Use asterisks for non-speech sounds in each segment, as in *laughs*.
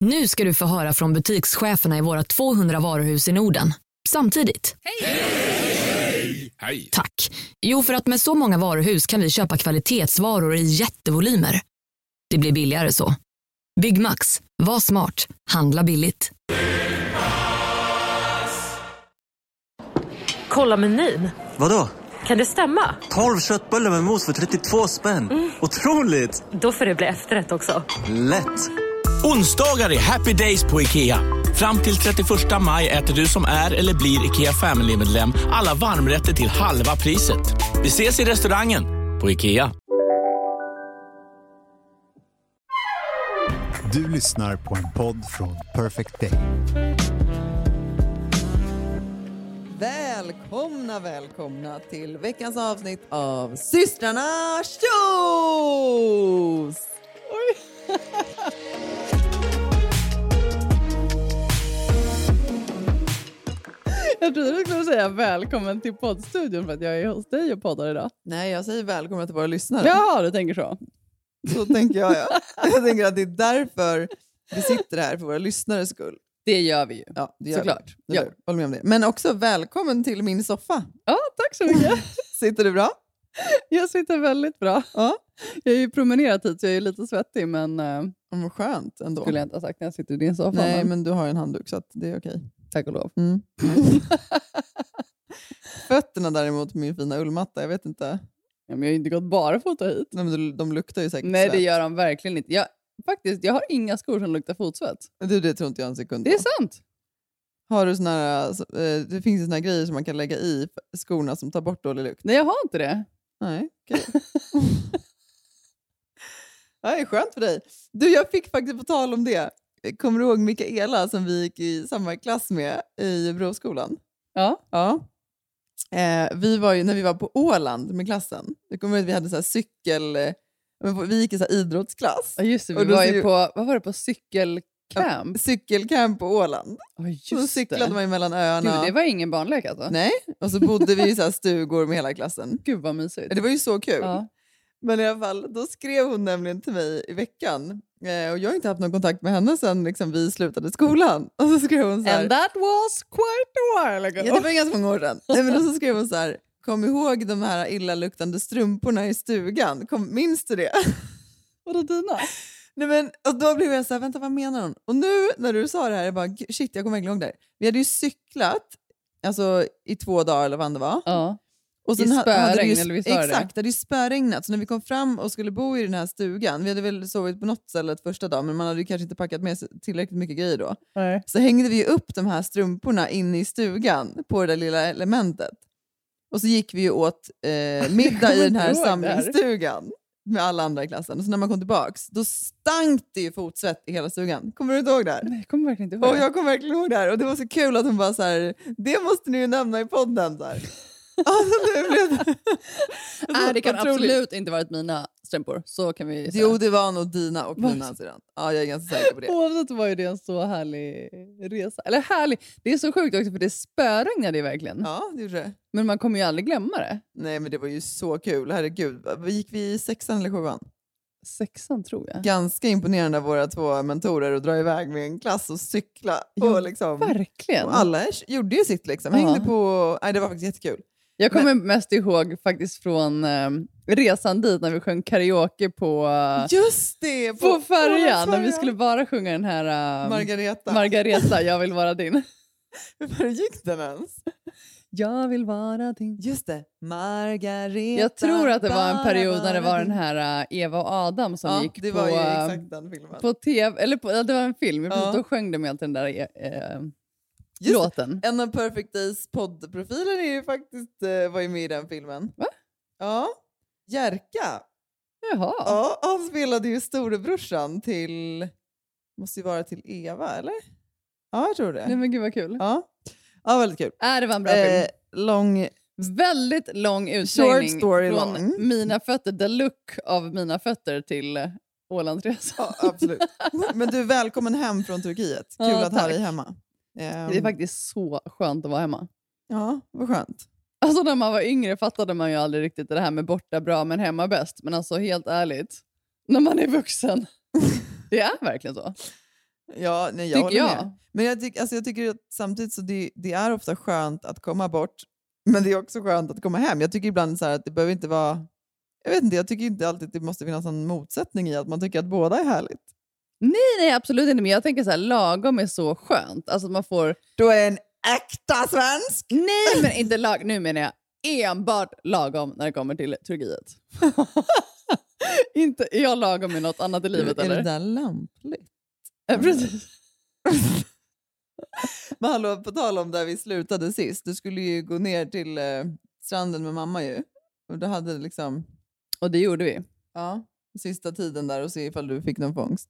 Nu ska du få höra från butikscheferna i våra 200 varuhus i Norden. Samtidigt. Hej! Tack. Jo, för att med så många varuhus kan vi köpa kvalitetsvaror i jättevolymer. Det blir billigare så. Byggmax. Var smart. Handla billigt. Kolla menyn. Vadå? Kan det stämma? 12 köttbullar med mos för 32 spänn. Otroligt! Mm. Då får det bli efterrätt också. Lätt! Onsdagar är happy days på IKEA. Fram till 31 maj äter du som är eller blir IKEA Family-medlem alla varmrätter till halva priset. Vi ses i restaurangen på IKEA. Du lyssnar på en podd från Perfect Day. Välkomna, välkomna till veckans avsnitt av Systrarna Shows! Jag trodde du skulle säga välkommen till poddstudion för att jag är hos dig och poddar idag. Nej, jag säger välkomna till våra lyssnare. Jaha, du tänker så. Så tänker jag. Ja. Jag tänker att det är därför vi sitter här, för våra lyssnares skull. Det gör vi ju. Ja, det gör Såklart. Vi. Ja. Ja. Håll med om det. Men också välkommen till min soffa. ja, tack så *laughs* mycket. Sitter du bra? Jag sitter väldigt bra. Ja. Jag har ju promenerat hit så jag är lite svettig men eh, Ja, men skönt ändå. skulle jag inte ha sagt när jag sitter i din soffa. Nej, men du har en handduk så att det är okej. Tack och lov. *laughs* Mm. Fötterna däremot på min fina ullmatta, jag vet inte. Ja, men jag har ju inte gått barfota hit. Nej, men de- De luktar ju säkert Nej, det svett. gör han verkligen inte. Jag, faktiskt, jag har inga skor som luktar fotsvett. Du, det tror inte jag en sekund Det är på. sant. Har du såna här, alltså, eh, det finns ju såna här grejer som man kan lägga i skorna som tar bort dålig lukt. Nej, jag har inte det. Nej, *laughs* okej. Ja, Det är skönt för dig. Du, jag fick faktiskt på tal om det. Kommer du ihåg Mikaela som vi gick i samma klass med i Broskolan? Ja. Ja. Eh, vi var ju, när vi var på Åland med klassen, jag kommer ihåg att vi hade så här cykel... eh, men Vi gick i så här idrottsklass. ja, just det. Och Vi då var ser ju ju- på, vad var det, på cykelcamp? Cykelcamp på Åland. Ja, Så just cyklade det. man ju mellan Gud, öarna. det var ingen barnlek alltså. Nej, och så bodde vi i så här stugor med *laughs* hela klassen. Gud vad mysigt. Det var ju så kul. Ja. Men i alla fall, då skrev hon nämligen till mig i veckan. Eh, och jag har inte haft någon kontakt med henne sedan liksom, vi slutade skolan. *laughs* Och så skrev hon så här. And that was quite a while ago. Ja, det var ju ganska många år sedan. Nej, men och så skrev hon så här. Kom ihåg de här illaluktande strumporna i stugan. Kom, minns du det? *laughs* Vadå dina? Nej, men, och då blev jag så här, vänta vad menar hon? Och nu när du sa det här, jag bara, "Gud, shit jag kommer verkligen ihåg det här. Vi hade ju cyklat alltså, i två dagar eller vad det var. Ja. Och I ha- hade det ju, spöregn, eller visst var det? Exakt, det hade ju spöregnat. Så när vi kom fram och skulle bo i den här stugan, vi hade väl sovit på något ställe första dagen, men man hade ju kanske inte packat med sig tillräckligt mycket grejer då. Nej. Så hängde vi ju upp de här strumporna inne i stugan på det där lilla elementet. Och så gick vi ju åt *laughs* eh, middag kommer i den inte här ihåg det här. samlingsstugan med alla andra i klassen. Och så när man kom tillbaks, då stank det ju fotsvett i hela stugan. Kommer du inte ihåg det här? Nej, jag kommer verkligen inte ihåg. Och det. jag kommer verkligen ihåg det här. Och det var så kul att hon bara så här, det måste ni ju nämna i podden. *laughs* Så här. Alltså, det blev... Nej, det kan Otroligt. absolut inte varit mina strumpor. Så kan vi säga. Jo, det var nog dina och mina sedan. Ja, jag är ganska säker *laughs* på det. Oavsett var ju det en så härlig resa. Eller härlig, det är så sjukt också för det spöregnade ju verkligen. Ja, det gjorde det. Men man kommer ju aldrig glömma det. Nej, men det var ju så kul. Herregud. Gick vi i sexan eller sjuan? Sexan tror jag. Ganska imponerande av våra två mentorer att dra iväg med en klass och cykla. Ja, och liksom, Verkligen. och alla gjorde ju sitt liksom. Ja. Hängde på... Nej, det var faktiskt jättekul. Jag kommer mest ihåg faktiskt från eh, resan dit när vi sjöng karaoke på, Just det! på färjan. När vi Ålandsfärjan. skulle bara sjunga den här... eh, Margareta. Margareta, jag vill vara din. Hur gick den ens? Jag vill vara din. Just det. Margareta. Jag tror att det var en bara period när det var din. den här eh, Eva och Adam som ja, gick det på, var ju eh, exakt den filmen. på tv. Eller på, ja, det var en film, Ja. ja. då sjöng de helt den där eh, Just det. låten. En av Perfect Days poddprofiler är ju faktiskt, eh, var ju med i den filmen. Va? Ja. Jerka. Jaha. Ja, han spelade ju storebrorsan till, måste ju vara till Eva, eller? Ja, jag tror det. Nej, men gud vad kul. Ja. ja, väldigt kul. Äh, det var en bra Eh, film. lång, Väldigt lång utläggning story från long. Mina fötter, the look av Mina fötter till eh, Ålandsresan. *laughs* ja, absolut. Men du, välkommen hem från Turkiet. Kul Ja, att ha tack. dig hemma. *laughs* Ehm, Det är faktiskt så skönt att vara hemma. Ja, vad skönt. Alltså när man var yngre fattade man ju aldrig riktigt det här med borta bra men hemma *laughs* bäst. Men alltså helt ärligt, när man är vuxen. Det är verkligen så. Ja, nej, jag Tycker håller jag. med. Men jag, tyck, alltså, jag tycker att samtidigt så det, det är ofta skönt att komma bort, *laughs* men det är också skönt att komma hem. Jag tycker ibland så här att det behöver inte vara... Jag vet inte, jag tycker inte alltid att det måste finnas en motsättning i att man tycker att båda är härligt. Nej, nej, absolut inte. Men jag tänker så här, lagom är så skönt. Alltså att man får... Du är en äkta svensk! Nej, men inte lag. Nu menar jag enbart lagom när det kommer till Turkiet. *laughs* inte är jag lagom med något annat i livet, är eller? det där lämpligt? Ja, precis. Men hallå, på tal om där vi slutade sist. Du skulle ju gå ner till eh, stranden med mamma ju. Och du hade liksom, Och det gjorde vi. ja, sista tiden där och se ifall du fick någon fångst.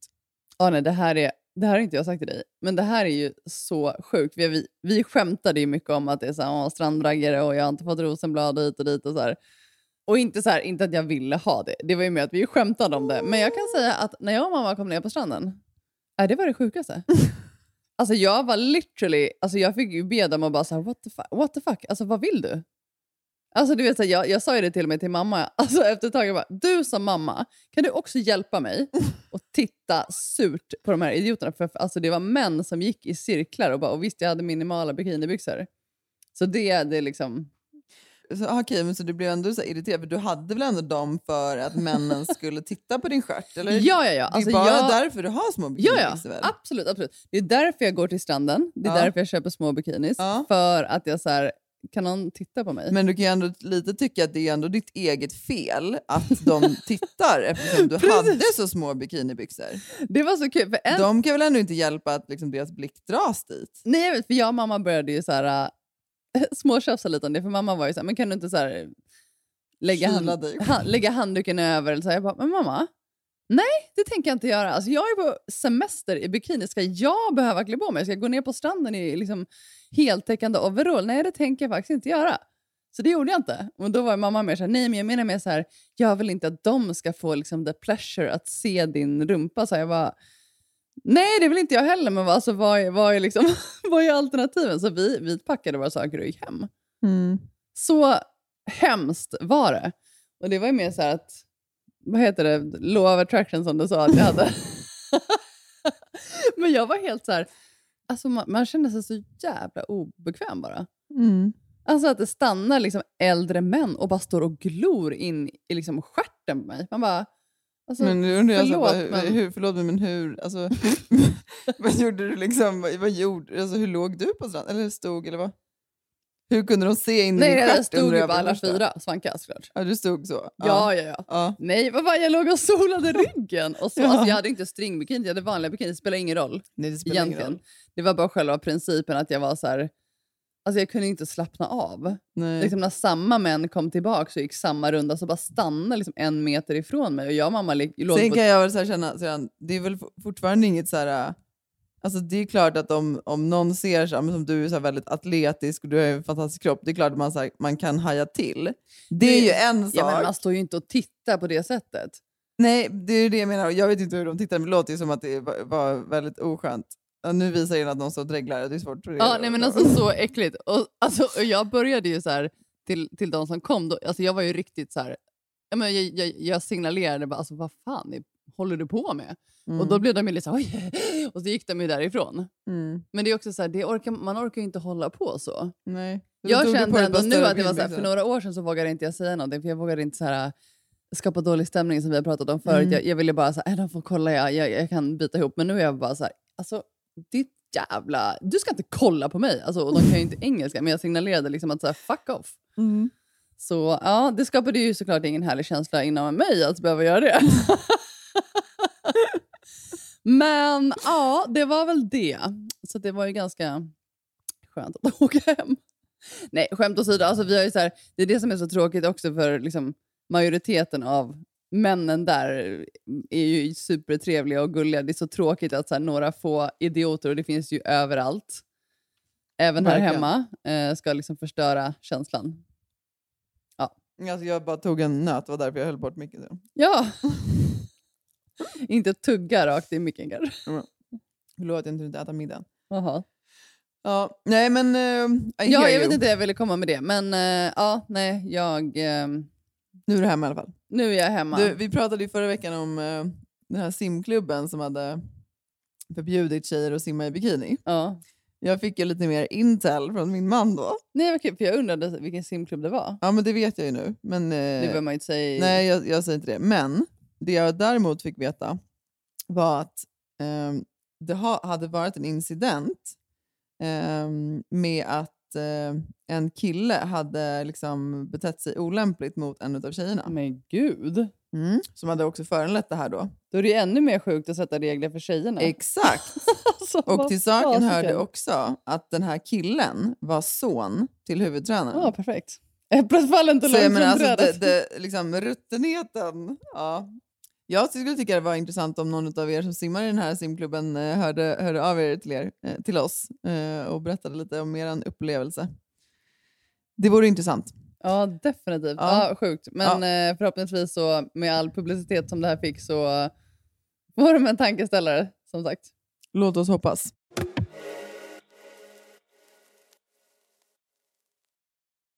Ah, nej, det, här är, det här har inte jag sagt till dig, men det här är ju så sjukt. Vi, vi, vi skämtade ju mycket om att det är så här, "Åh, strandraggare och jag har inte fått rosenblad hit och dit. Och så här. Och inte, så här, inte att jag ville ha det. Det var ju mer att vi skämtade om det. Men jag kan säga att när jag och mamma kom ner på stranden, äh, det var det sjukaste. Alltså jag var literally, alltså jag fick ju be dem och bara så här, what the fuck, what the fuck? Alltså vad vill du? Alltså du vet, så här, jag, jag sa ju det till och med till mamma, alltså efter ett tag, jag bara, du som mamma, kan du också hjälpa mig och titta surt på de här idioterna? För alltså, det var män som gick i cirklar och bara, och visst jag hade minimala bikinibyxor. Så det, det är liksom, Så, ah, okej, men så du blev ändå så här irriterad för du hade väl ändå dem för *laughs* att männen skulle titta på din stjärt? Eller? ja ja ja. det är Alltså, bara jag, därför du har små Ja, bikinibyxor ja. väl? Absolut, absolut. Det är därför jag går till stranden. Det är Ja. därför jag köper små bikinis. Ja. För att jag så här, kan någon titta på mig? Men du kan ju ändå lite tycka att det är ändå ditt eget fel att *laughs* de tittar eftersom du hade så små bikinibyxor. det var så kul. För en, De kan väl ändå inte hjälpa att liksom deras blick dras dit? Nej, jag vet, för jag och mamma började ju så här, äh, *laughs* småtjafsa lite om det. För mamma var ju så här, men kan du inte så här, lägga, Kyla hand, dig. ha, lägga handduken över? Eller så här. Jag bara, men mamma, nej det tänker jag inte göra. Alltså, jag är på semester i bikini, ska jag behöva klä på mig? Ska jag gå ner på stranden i liksom, heltäckande overall? Nej, det tänker jag faktiskt inte göra. Så det gjorde jag inte. Och då var mamma mer så här, nej men jag menar mer så här, jag vill inte att de ska få liksom the pleasure att se din rumpa. Så här, jag bara, nej det vill inte jag heller, men vad- alltså, vad, är, vad, är liksom, *laughs* vad är alternativen? Så vi, vi packade våra saker och gick hem. Mm, Så hemskt var det. Och det var ju mer så här att, vad heter det, law of attraction som du sa att jag hade. *laughs* men jag var helt så här, alltså man, man kände sig så jävla obekväm bara. Alltså att det stannar liksom äldre män och bara står och glor in i liksom stjärten på mig. Man bara, alltså, Men nu undrar jag, förlåt, så här, bara, hur, men- hur, förlåt mig, men hur, *laughs* alltså, *laughs* vad gjorde du liksom, vad, vad gjorde, alltså, hur låg du på stranden? Eller hur stod, eller vad? Hur kunde de se in i Nej, din nej, stjärt, jag stod undrar ju jag på för det alla första. fyra svankar såklart. Ja, du stod så? Ja, ja, ja. ja. Nej, vad fan, jag låg och *laughs* solade ryggen. Och så, Ja. alltså, jag hade inte stringbikini, jag hade vanliga bikini. Det spelar ingen roll Nej, det spelar ingen egentligen. roll. Det var bara själva principen att jag var så här... Alltså jag kunde inte slappna av. Nej. Liksom när samma män kom tillbaka så gick samma runda så bara stannade liksom en meter ifrån mig. Och jag och mamma li- låg Sen på... kan jag väl så här känna, sedan, det är väl for- fortfarande inget så här... äh, Alltså det är klart att om, om någon ser så här, men som du är så här väldigt atletisk och du har ju en fantastisk kropp, det är klart att man, så här, man kan haja till. Det är ju en sak. Ja, men man står ju inte och tittar på det sättet. Nej, det är ju det jag menar. Och Jag vet inte hur de tittar, men det låter ju som att det var, var väldigt oskönt. Ja, nu visar ju att någon står och dreglar, och det är svårt att Ja, nej, men alltså så äckligt. Och, alltså, och jag började ju så här till, till de som kom. Då, alltså, jag var ju riktigt så här, jag, men, jag, jag, jag signalerade bara, alltså, vad fan är, håller du på med? Och då blev de ju lite så här, oj, och så gick de ju därifrån. Mm. Men det är också så här, det orkar, man orkar ju inte hålla på så. Nej. Då Jag tog du på kände dig ändå bara nu större att det var så här, för pinbyxor. några år sedan så vågade inte jag säga någonting, för jag vågade inte så här, äh, skapa dålig stämning som vi har pratat om Mm. förut. Jag, jag ville bara så här, "Äh, de får kolla, jag, jag, jag kan bita ihop. Men nu är jag bara så här, alltså ditt jävla... Du ska inte kolla på mig! Alltså, och de kan ju inte *laughs* engelska, men jag signalerade liksom att så här, fuck off. Mm. Så ja, det skapade ju såklart ingen härlig känsla inom mig att behöva göra det. *laughs* men ja, det var väl det. Så det var ju ganska skönt att *laughs* åka hem. Nej, skämt åsido. Alltså, vi har ju så här, det är det som är så tråkigt också för liksom, majoriteten av männen där är ju supertrevliga och gulliga. Det är så tråkigt att så här, några få idioter, och det finns ju överallt, även här Verkligen. hemma, eh, ska liksom förstöra känslan. Alltså, jag bara tog en nöt, det var därför jag höll bort mycket. Ja! *laughs* Inte tugga rakt i micken kanske. Förlåt att jag inte äta middagen. Jaha. Ja, nej men... eh, I Ja, hear jag you. vet inte jag ville komma med det, men eh, ja, nej, jag... eh, Nu är du hemma i alla fall. nu är jag hemma. Du, vi pratade ju förra veckan om eh, den här simklubben som hade förbjudit tjejer att simma i bikini. Ja. Jag fick ju lite mer intel från min man då. Nej, vad kul, för jag undrade vilken simklubb det var. Ja, men det vet jag ju nu. Men, Det eh, behöver man ju inte säga. i- Nej, jag, jag säger inte det. Men det jag däremot fick veta var att ehm, det ha, hade varit en incident ehm, med att eh, en kille hade liksom betett sig olämpligt mot en av tjejerna. Men gud. Mm. Som hade också föranlett det här då. Då är det ju ännu mer sjukt att sätta regler för tjejerna. *laughs* *laughs* Exakt. Alltså, Och vad till saken hörde fasiken. också att den här killen var son till huvudtränaren. Ja, perfekt. Äpplet faller inte Så jag långt menar, från alltså, det, trädet. det, liksom, ruttenheten. Ja. Jag skulle tycka det var intressant om någon av er som simmar i den här simklubben eh, hörde, hörde av er till, er, eh, till oss eh, och berättade lite om er upplevelse. Det vore intressant. Ja, definitivt. Ja. Ja. sjukt. Men eh, förhoppningsvis så med all publicitet som det här fick så eh, var de en tankeställare, som sagt. Låt oss hoppas.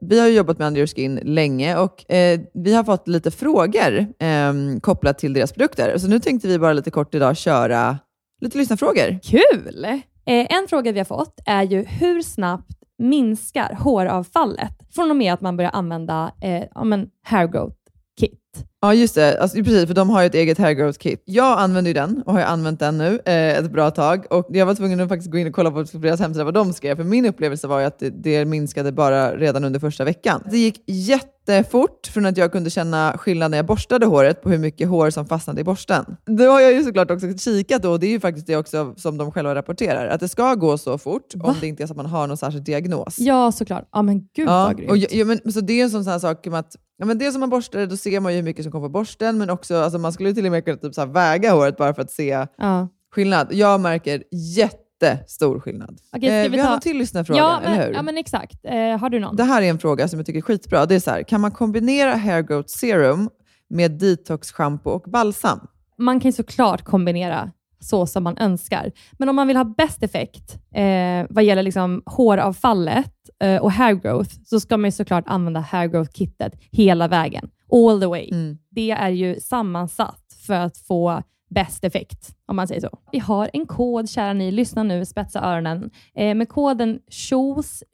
Vi har ju jobbat med Under Your Skin länge och eh, vi har fått lite frågor eh, kopplat till deras produkter. Så nu tänkte vi bara lite kort idag köra lite lyssnarfrågor. Kul! Eh, en fråga vi har fått är ju hur snabbt minskar håravfallet från och med att man börjar använda eh, ja, men hair growth kit? Ja, just det. Alltså, precis, för de har ju ett eget hair growth kit. Jag använder ju den och har ju använt den nu eh, ett bra tag. Och jag var tvungen att faktiskt gå in och kolla på deras hemsida vad de skrev, för min upplevelse var ju att det, det minskade bara redan under första veckan. Det gick jättefort från att jag kunde känna skillnad när jag borstade håret på hur mycket hår som fastnade i borsten. Då har jag ju såklart också kikat då, och det är ju faktiskt det också som de själva rapporterar, att det ska gå så fort om det inte är så att man har någon särskild diagnos. Ja, såklart. Ja, men gud vad grymt. Och, ja, ja, men, så det är en sån här sak med att ja, men det som man borstar, då ser man ju hur mycket som kommer på borsten, men också, alltså, man skulle ju till och med kunna typ, så här, väga håret bara för att se Ja. skillnad. Jag märker jättestor skillnad. Okej, ska Eh, vi har ta- någon till lyssnarfråga, ja, men, eller hur? Ja, men exakt. Eh, har du någon? Det här är en fråga som jag tycker är skitbra. Det är så här, kan man kombinera hair growth serum med detox, shampoo och balsam? Man kan ju såklart kombinera så som man önskar. Men om man vill ha bäst effekt eh, vad gäller liksom håravfallet eh, och hair growth så ska man ju såklart använda hair growth-kittet hela vägen. All the way. Mm. Det är ju sammansatt för att få bäst effekt, om man säger så. Vi har en kod, kära ni. Lyssna nu, spetsa öronen. Eh, med koden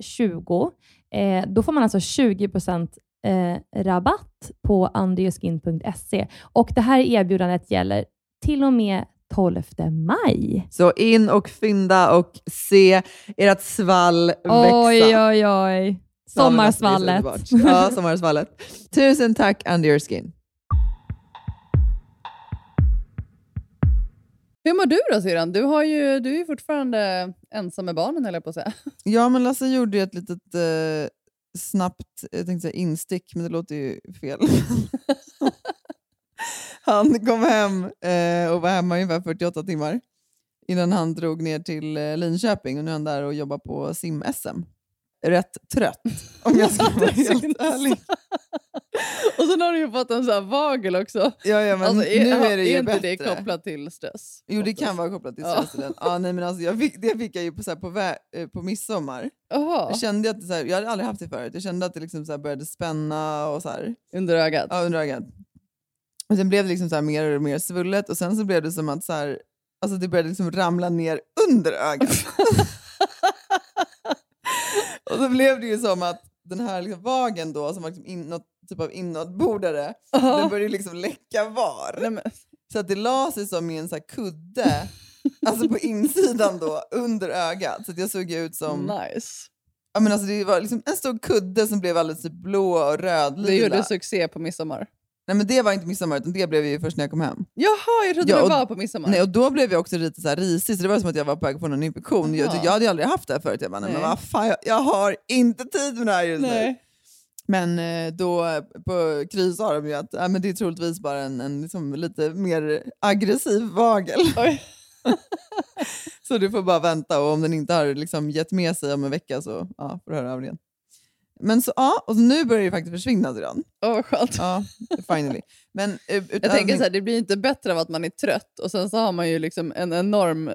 SHOES20, eh, då får man alltså 20% eh, rabatt på andreaskin.se. Och det här erbjudandet gäller till och med 12 maj. Så in och fynda och se ert svall växa. Oj, oj, oj. Ja, men alltså, det är så Sommarsvallet. underbart. *laughs* Ja, sommarsvallet. Tusen tack Under Your Skin. Hur mår du då syrran? Du, har ju, du är ju fortfarande ensam med barnen höll jag på att säga. Ja, men Lasse gjorde ju ett litet eh, snabbt jag tänkte säga instick, men det låter ju fel. *laughs* han kom hem eh, och var hemma i ungefär 48 timmar innan han drog ner till eh, Linköping och nu är han där och jobbar på sim-SM. Rätt trött, om *laughs* jag ska vara helt ärlig. och sen har du ju fått en sån här vagel också. Ja, ja, men Alltså, är, nu är det ju är inte bättre. det kopplat till stress? Jo, det kan vara kopplat till Ja. stressstudent. Ja. nej, men alltså, jag fick, det fick jag ju på, så här, på, vä- eh, på midsommar. Jaha, Jag kände att det, så här, jag hade aldrig haft det förut. Jag kände att det liksom, så här, började spänna och så här. under ögat. Ja, under ögat. Och sen blev det liksom så här mer och mer svullet och sen så blev det som att så här, alltså det började liksom ramla ner under *laughs* ögat. och så blev det ju som att den här liksom vagen då, som var liksom in, något typ av inåtbordare, den började liksom läcka var. Nej, men, Så att det la sig som i en så här kudde, alltså på insidan då, under ögat. Så att jag såg ut som... *laughs* nice. Ja, men alltså det var liksom en stor kudde som blev alldeles typ blå och rödlila. Du gjorde succé på midsommar. Nej men det var inte midsommar utan det blev ju först när jag kom hem. Jaha, jag trodde Ja, det och- var på midsommar. Nej, och då blev jag också lite så här risig så det var som att jag var på väg på någon infektion. Jag, Jaha. jag hade ju aldrig haft det här förut. Jag bara, nej. men Nej. vad fan, jag, jag har inte tid med det här just nu. Nej. Men eh, då eh, på Kry sa de ju att ja, men det är troligtvis bara en, en liksom lite mer aggressiv vagel. *laughs* Oj. så du får bara vänta och om den inte har liksom gett med sig om en vecka så ja, får du höra av dig igen. Men så, ja, och så nu börjar det ju faktiskt försvinna sedan. Åh, vad skönt. Ja, finally. Men, eh, utan, Jag tänker så här, det blir inte bättre av att man är trött och sen så har man ju liksom en enorm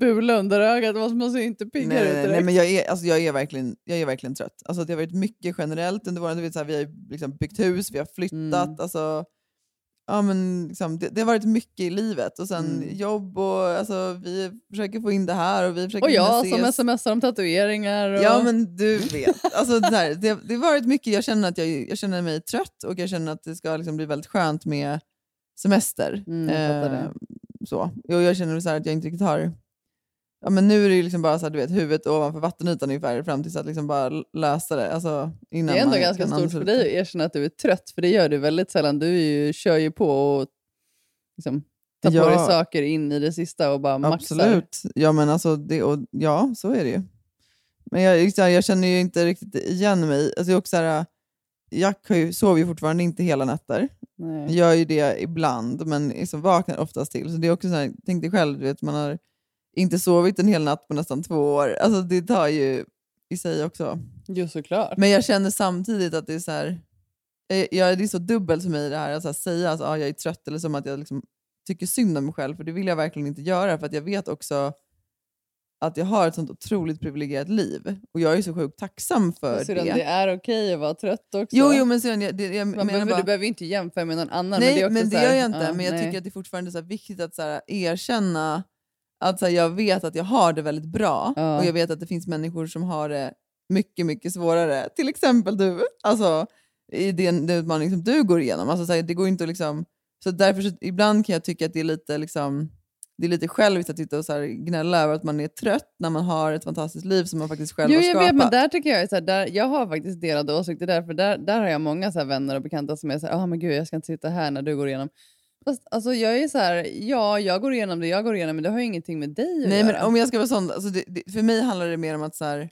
bula under ögat. Man man ser ju inte nej, piggare ut nej, nej, direkt. nej, men jag är, alltså, jag, är verkligen, jag är verkligen trött. Alltså, det har varit mycket generellt under våren. Du vet, så här, vi har ju liksom byggt hus, vi har flyttat. Mm. Alltså, ja, men, liksom, det, det har varit mycket i livet. Och sen Mm. jobb och alltså, vi försöker få in det här. Och, vi försöker Och hinna jag ses. som smsar om tatueringar. Och... Ja men du vet. Alltså, det, här, det, det har varit mycket, jag känner att jag, jag känner mig trött och jag känner att det ska liksom bli väldigt skönt med semester. Mm, jag fattar Eh, det. så. Och jag känner så här att jag inte riktigt har... Ja, men nu är det ju liksom bara så här, du vet, huvudet ovanför vattenytan ungefär fram tills att liksom bara lösa det. Alltså, innan det är ändå man ganska kan stort för ansluta. dig att erkänna att du är trött, för det gör du väldigt sällan. Du är ju, kör ju på och liksom, tar på Ja. dig saker in i det sista och bara maxar. Absolut. Ja, men alltså, det, och, ja, så är det ju. Men jag, jag- så här, jag känner ju inte riktigt igen mig. Alltså, det är också så här, Jack har ju, sover ju fortfarande inte hela nätter. Nej. gör ju det ibland, men liksom vaknar oftast till. Så det är också så här, tänk dig själv, du vet, man har inte sovit en hel natt på nästan två år. Alltså det tar ju i sig också. Jo, såklart. Men jag känner samtidigt att det är så här, jag, jag, det är så dubbelt för mig det här att så här, säga att ah, jag är trött eller som att jag liksom tycker synd om mig själv, för det vill jag verkligen inte göra, för att jag vet också att jag har ett sånt otroligt privilegierat liv. Och jag är så sjukt tacksam för Syrran, det. det är okej att vara trött också. Jo, jo, men Syrran, jag, det, jag Man menar behöver, bara... Du behöver ju inte jämföra med någon annan. Nej, men det, är också så här, gör jag inte. ja, men jag nej. tycker att det är fortfarande så här viktigt att så här erkänna att så här, jag vet att jag har det väldigt bra Ja. och jag vet att det finns människor som har det mycket, mycket svårare. Till exempel du. Alltså, i den, den utmaning som du går igenom. Alltså, så här, det går inte att liksom... Så därför så, ibland kan jag tycka att det är lite liksom... Det är lite själviskt att sitta och så här gnälla över att man är trött när man har ett fantastiskt liv som man faktiskt själv Jo, har jag skapat. vet, men där tycker jag är så här, där, jag har faktiskt delade åsikter där, för där, där har jag många så här vänner och bekanta som är så här, ah, men gud, jag ska inte sitta här när du går igenom. Fast, alltså, jag är så här, ja, jag går igenom det jag går igenom, men det har ju ingenting med dig att Nej, göra. men om jag ska vara sån, alltså det, det, för mig handlar det mer om att så här,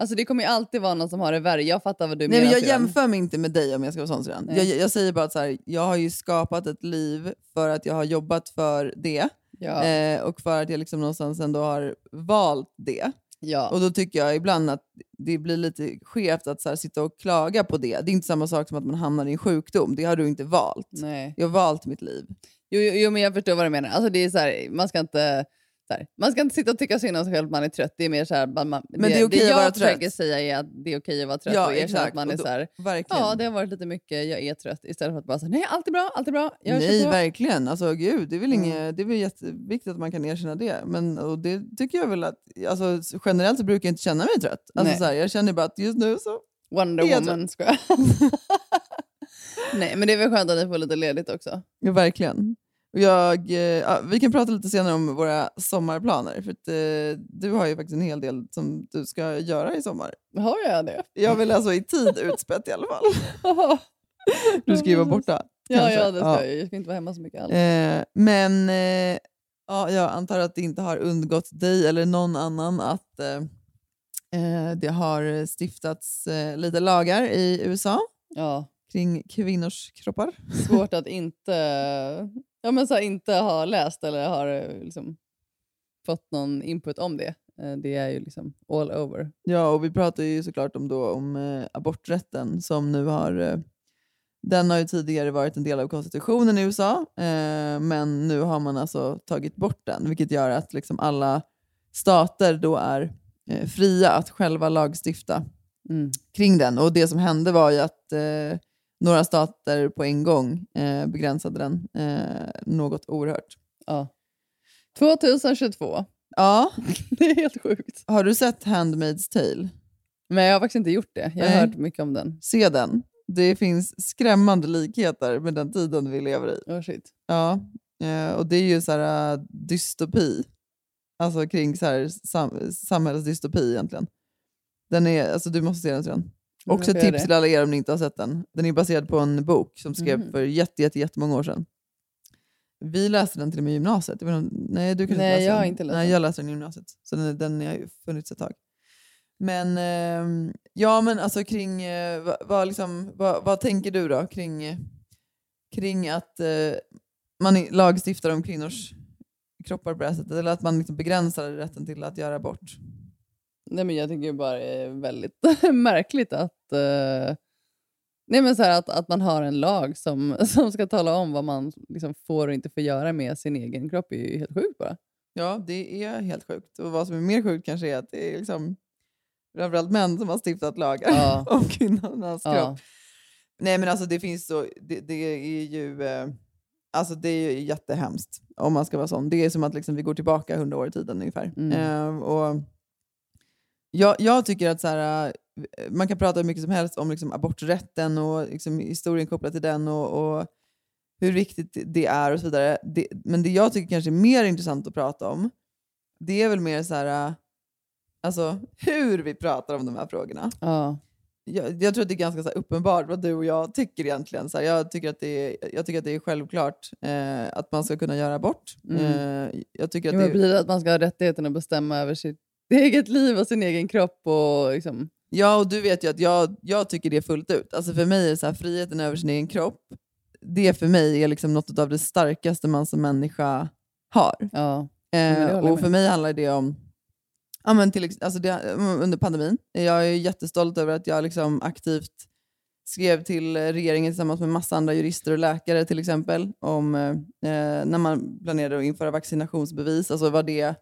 Alltså, det kommer ju alltid vara någon som har det värre. Jag fattar vad du Nej, men menar. jag Syran. jämför mig inte med dig om jag ska vara sån Syrran. Nej. Jag, jag säger bara att så här, jag har ju skapat ett liv för att jag har jobbat för det Ja, eh, och för att jag liksom någonstans ändå har valt det. ja. Och då tycker jag ibland att det blir lite skevt att så här, sitta och klaga på det. Det är inte samma sak som att man hamnar i en sjukdom. Det har du inte valt. Nej. Jag har valt mitt liv. Jo, jo, jo, men jag förstår vad du menar. Alltså, det är så här, man ska inte... så Här. Man ska inte sitta och tycka synd om sig själv att man är trött. Det är mer så här, man, man, Men det är okej att jag vara försöker trött. säga är att det är okej att vara trött Ja, och erkänna exakt. att man Och är då- så här, Verkligen. Ja, det har varit lite mycket. Jag är trött. Istället för att bara säga nej, allt är bra, allt är bra. Jag Nej, kör på. verkligen. Alltså, gud, det, är väl Mm. inget, det är väl jätteviktigt att man kan erkänna det. Men, och det tycker jag väl att, alltså, generellt så brukar jag inte känna mig trött. Alltså, Nej. så här, jag känner bara att just nu så... Wonder Jag är Woman, ska jag. *laughs* nej, men det är väl skönt att ni får lite ledigt också. Ja, verkligen. Och Jag, eh, ja, vi kan prata lite senare om våra sommarplaner. För att, eh, du har ju faktiskt en hel del som du ska göra i sommar. Har jag det? *laughs* Jag vill alltså i *laughs* tid utspätt i alla fall. ja, Du ska ju vara borta. ja, kanske. det ska jag ju. Jag ska inte vara hemma så mycket alls. Eh, men eh, ja, jag antar att det inte har undgått dig eller någon annan att eh, eh, det har stiftats eh, lite lagar i USA Ja, kring kvinnors kroppar. svårt att inte, ja, men så här, inte ha läst eller har eh, liksom, fått någon input om det. Eh, Det är ju liksom all over. Ja, och vi pratar ju såklart om, då, om eh, aborträtten som nu har... Eh, den har ju tidigare varit en del av konstitutionen i USA, eh, men nu har man alltså tagit bort den, vilket gör att liksom alla stater då är eh, fria att själva lagstifta Mm. kring den. Och det som hände var ju att eh, några stater på en gång eh, begränsade den eh, något oerhört. Ja. 2022. Ja, *laughs* Det är helt sjukt. har du sett Handmaid's Tale? Men jag har faktiskt inte gjort det. Jag har Nej. hört mycket om den. Se den. Det finns skrämmande likheter med den tiden vi lever i. Oh, shit. Ja, eh, och det är ju så här eh, dystopi. Alltså kring så här sam- samhällsdystopi egentligen. Den är, alltså du måste se den sen. Ja, Också jag får ett göra tips det. till alla er om ni inte har sett den. Den är baserad på en bok som skrev Mhm. för jätte, jätte, jättemånga år sedan. Vi läste den till och med i gymnasiet. Jag vet inte om- nej, du kanske Nej, läste jag har den. inte läst Nej, den. jag läste den i gymnasiet. Så den, den har ju funnits ett tag. Men ehm, ja, men alltså kring, eh, vad, vad, liksom, vad, vad tänker du då kring, eh, kring att eh, man i- lagstiftar om kvinnors kroppar på det här sättet? Eller att man liksom begränsar rätten till att göra abort? Nej, men jag tycker bara det är väldigt *laughs* märkligt att, eh, nej, men så här, att, att man har en lag som, *laughs* som ska tala om vad man liksom får och inte får göra med sin egen kropp. är ju helt sjukt bara. Ja, det är helt sjukt. Och vad som är mer sjukt kanske är att det är liksom framförallt män som har stiftat lagar Ja. *laughs* om kvinnornas kropp. Ja. Nej men alltså det finns så, det, det är ju eh, alltså det är ju jättehemskt om man ska vara sån. Det är som att liksom vi går tillbaka hundra år i tiden ungefär. Mm. Eh, och jag, jag tycker att så här, eh, man kan prata hur mycket som helst om liksom aborträtten och liksom historien kopplat till den och, och hur viktigt det är och så vidare. Det, men det jag tycker kanske är mer intressant att prata om det är väl mer så här, eh, alltså hur vi pratar om de här frågorna Ja. jag, jag tror att det är ganska så här, uppenbart vad du och jag tycker egentligen. Så här, jag, tycker att det är, jag tycker att det är självklart eh, att man ska kunna göra abort. Mm. Eh, jag tycker att Jo, men det, blir det att man ska ha rättigheten att bestämma över sitt *laughs* eget liv och sin egen kropp? Och liksom, ja, och du vet ju att jag, jag tycker det fullt ut. Alltså för mig är det så här, friheten över sin egen kropp, det för mig är liksom något av det starkaste man som människa har. ja. men det Eh, håller jag och för med. mig handlar det om, ja, men till, ex- alltså det, under pandemin, jag är jättestolt över att jag liksom aktivt skrev till eh, regeringen tillsammans med massa andra jurister och läkare till exempel om eh, eh, när man planerade att införa vaccinationsbevis, alltså vad det,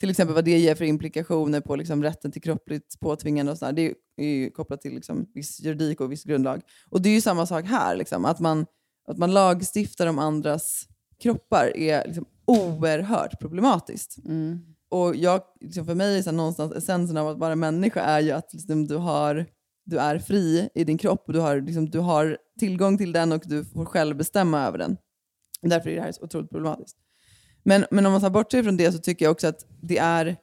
till exempel vad det ger för implikationer på liksom rätten till kroppligt påtvingande och sådär. Det är ju kopplat till liksom viss juridik och viss grundlag. Och det är ju samma sak här, liksom, att, man, att man lagstiftar om andras kroppar är liksom oerhört problematiskt. Mm. Och jag, liksom för mig är så här någonstans essensen av att vara människa är ju att liksom du, har, du är fri i din kropp och du har, liksom, du har tillgång till den och du får själv bestämma över den. Därför är det här så otroligt problematiskt. Men, men om man tar bortser från det så tycker jag också att det är...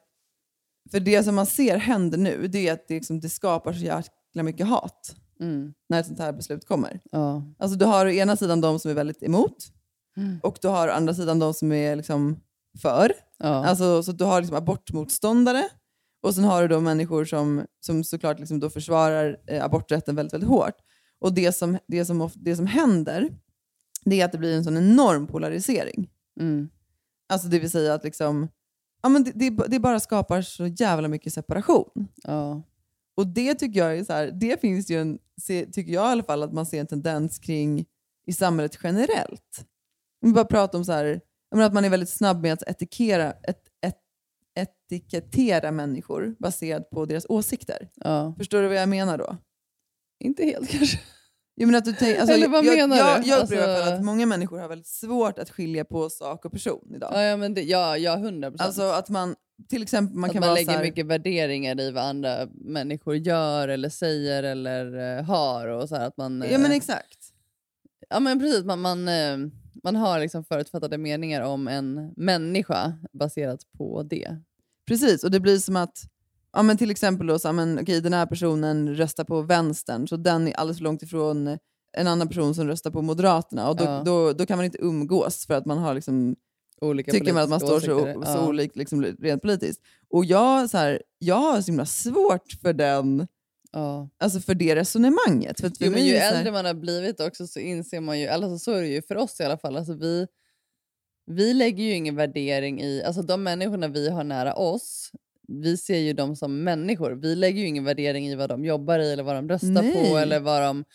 För det som man ser händer nu det är att det, liksom, det skapar så jäkla mycket hat Mm. när ett sånt här beslut kommer. Ja. Mm. Alltså du har å ena sidan de som är väldigt emot och du har å andra sidan de som är liksom för. Ja. Alltså, så att du har liksom abortmotståndare och sen har du då människor som, som såklart liksom då försvarar eh, aborträtten väldigt, väldigt hårt. Och det som, det, som, of- det som händer det är att det blir en sån enorm polarisering. mm. Alltså det vill säga att liksom, ja, men det, det, det bara skapar så jävla mycket separation. ja. Och det tycker jag är så här, det finns ju en, se- tycker jag i alla fall, att man ser en tendens kring i samhället generellt. Vi bara pratar om så här, jag menar att man är väldigt snabb med att etikera, et, et, etikettera människor baserat på deras åsikter. ja. Förstår du vad jag menar då? Inte helt *laughs* kanske. Jag menar att du tänk, alltså, Eller vad jag, menar jag, du? Jag upplever i alla Alltså- fall att många människor har väldigt svårt att skilja på sak och person idag. Ja, ja, men det, ja, ja 100 procent. Alltså att man, till exempel, man man, kan att man vara lägger så här, mycket värderingar i vad andra människor gör eller säger eller eh, har. Och så här, att man, Ja eh, men exakt. ja, men precis. Man, man, eh, man har liksom förutfattade meningar om en människa baserat på det. Precis, och det blir som att ja, men till exempel då, så, här, men, okej, den här personen röstar på vänstern så den är alldeles för långt ifrån en annan person som röstar på Moderaterna. Och då, Ja. då, då kan man inte umgås för att man har liksom, Olika tycker man att man står politiska så, åsikter. så olikt liksom, rent politiskt. Och jag, så här, jag har så himla svårt för, den, Ja. alltså, för det resonemanget. För att för Jo, men mig ju är det så här- äldre man har blivit också så inser man ju, eller alltså, så är det ju för oss i alla fall, alltså, vi, vi lägger ju ingen värdering i, alltså de människorna vi har nära oss, vi ser ju dem som människor. Vi lägger ju ingen värdering i vad de jobbar i eller vad de röstar på Nej. eller vad de,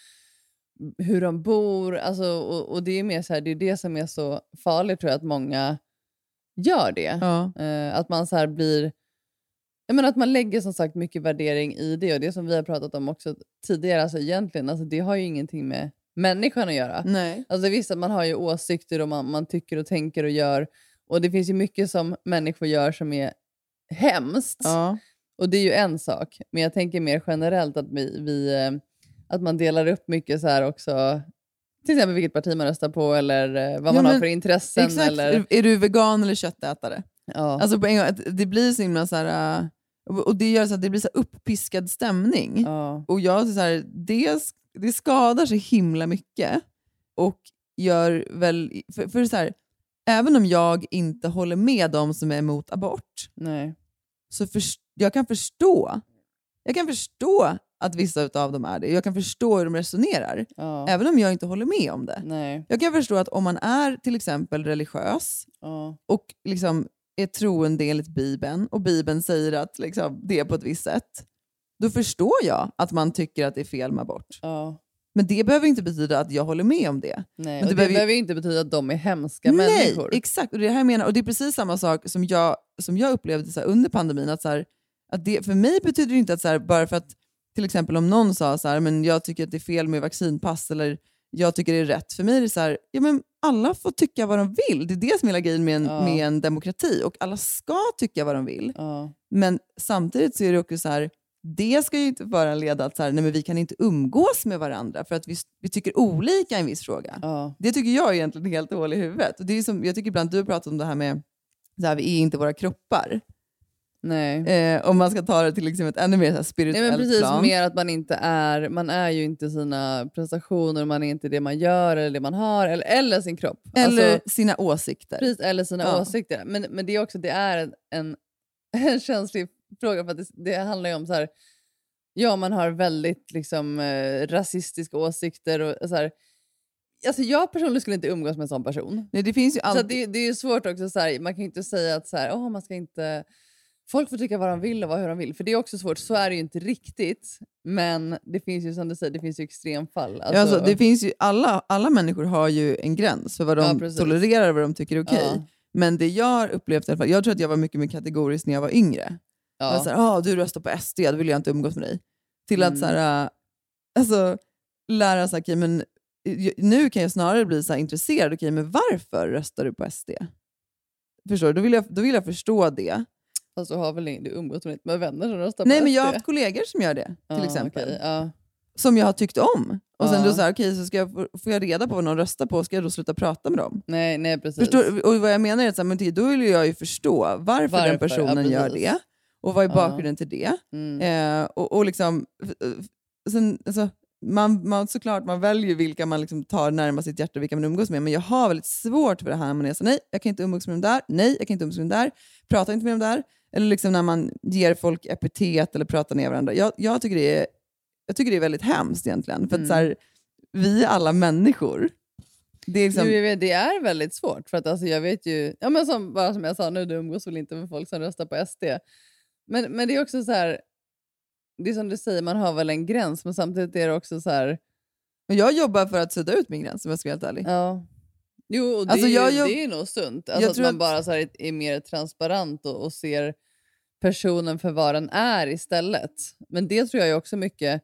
hur de bor. Alltså, och, och det är ju mer så här, det är det som är så farligt tror jag, att många gör det. ja. Eh, att man så här blir... Jag menar att man lägger som sagt mycket värdering i det och det som vi har pratat om också tidigare, alltså egentligen, alltså det har ju ingenting med människan att göra. Nej. Alltså visst att man har ju åsikter och man, man tycker och tänker och gör och det finns ju mycket som människor gör som är hemskt Ja. och det är ju en sak, men jag tänker mer generellt att vi, vi eh, att man delar upp mycket så här också, till exempel vilket parti man röstar på eller eh, vad Ja, man har men för intressen Exakt. eller... Är, är du vegan eller köttätare? Ja. Alltså på en gång, att det blir så himla så här... äh, och- Och det gör så att det blir så här uppiskad stämning. ja. Och jag så här, det, det skadar så himla mycket. Och gör väl... För, för så här, även om jag inte håller med de som är emot abort, Nej. så förs- jag kan förstå. Jag kan förstå att vissa av dem är det. Jag kan förstå hur de resonerar, Ja. även om jag inte håller med om det. Nej. Jag kan förstå att om man är till exempel religiös Ja. och liksom är troende enligt Bibeln och Bibeln säger att liksom, det är på ett visst sätt, då förstår jag att man tycker att det är fel med abort. Ja. Men det behöver inte betyda att jag håller med om det. Nej, och Men det det behöver ju- behöver ju inte betyda att de är hemska människor. Nej, exakt. Och det är det här jag menar. Och det är precis samma sak som jag, som jag upplevde så här, under pandemin. Att så här, att det, för mig betyder det inte att så här, bara för att till exempel om någon sa så här, men jag tycker att det är fel med vaccinpass eller jag tycker det är rätt. För mig är det så här, ja, men alla får tycka vad de vill. Det är det som är hela grejen med en, Ja. med en demokrati. Och alla ska tycka vad de vill. Ja. Men samtidigt så är det också så här, det ska ju inte föranleda att så här, nej, men vi kan inte umgås med varandra för att vi, vi tycker olika i en viss fråga. Ja. Det tycker jag är egentligen helt hål i huvudet. Och det är ju som, jag tycker ibland du pratar om det här med så här, vi är inte våra kroppar. Nej. Eh, om man ska ta det till liksom ett ännu mer så här, Nej, spirituellt men precis, plan. mer att man inte är, man är ju inte sina prestationer, man är inte det man gör eller det man har eller, eller sin kropp. Eller Alltså, sina åsikter. precis, eller sina Ja. åsikter. Men, men det är också det är en, en, *laughs* en känslig fråga för att det, det handlar ju om så här, ja man har väldigt liksom eh, rasistiska åsikter och så här. Alltså jag personligen skulle inte umgås med en sån person. Nej, det finns ju Så alltid... att det, det är ju svårt också, så här, man kan ju inte säga att så här, "Åh, man ska inte... Folk får tycka vad de vill och vara hur de vill, för det är också svårt. Så är det ju inte riktigt, men det finns ju som du säger, det finns ju extremfall. Ja, Alltså, det finns ju, alla, alla människor har ju en gräns för vad Ja, de precis. tolererar och vad de tycker är okej. Ja. Men det jag har upplevt i alla fall, jag tror att jag var mycket mer kategorisk när jag var yngre. ja. Jag var så här, ah, du röstar på SD, då vill jag inte umgås med dig. Till att Mm. så här, äh, alltså, lära sig, okay, men eh, nu kan jag snarare bli så här intresserad, okej men varför röstar du på SD? Förstår du? Då vill jag, då vill jag förstå det. Fast du har väl ingen- du umgås väl inte med vänner som röstar Nej på men jag har SD? haft kollegor som gör det, till Ja, exempel. Ah, okej, ja. Som jag har tyckt om. Och sen Ja. då så här, okej så ska jag, få- får jag reda på vad någon röstar på, ska jag då sluta prata med dem? Nej, nej precis. Förstår, du? och vad jag menar är att så här, men det- då vill jag ju förstå varför, Varför? Ja, den personen gör precis. det. Och vad är Ja. bakgrunden till det? Mm. Eh, och, och liksom, eh, sen, alltså, man, man, såklart man väljer vilka man liksom tar närmast sitt hjärta och vilka man umgås med, men jag har väldigt svårt för det här när man är så nej, jag kan inte umgås med dem där, nej, jag kan inte umgås med dem där, prata inte med dem där. Eller liksom när man ger folk epitet eller pratar ner varandra. Jag, jag, tycker, det är, jag tycker det är väldigt hemskt egentligen, för Mm. att så här, vi är alla människor. Det är liksom, Jo, jag vet, det är väldigt svårt. För att alltså, jag vet ju, ja, men som, bara som jag sa nu, du umgås väl inte med folk som röstar på SD. Men, men det är också så här, det är som du säger, man har väl en gräns, men samtidigt är det också så här, men jag jobbar för att sudda ut min gräns om jag ska vara helt ärlig. ja. Jo, och det, Alltså, är, ju- jag- jag- det är nog sunt. jag Alltså, att tror man att- bara så här, är mer transparent och, och ser personen för vad den är istället. Men det tror jag är också mycket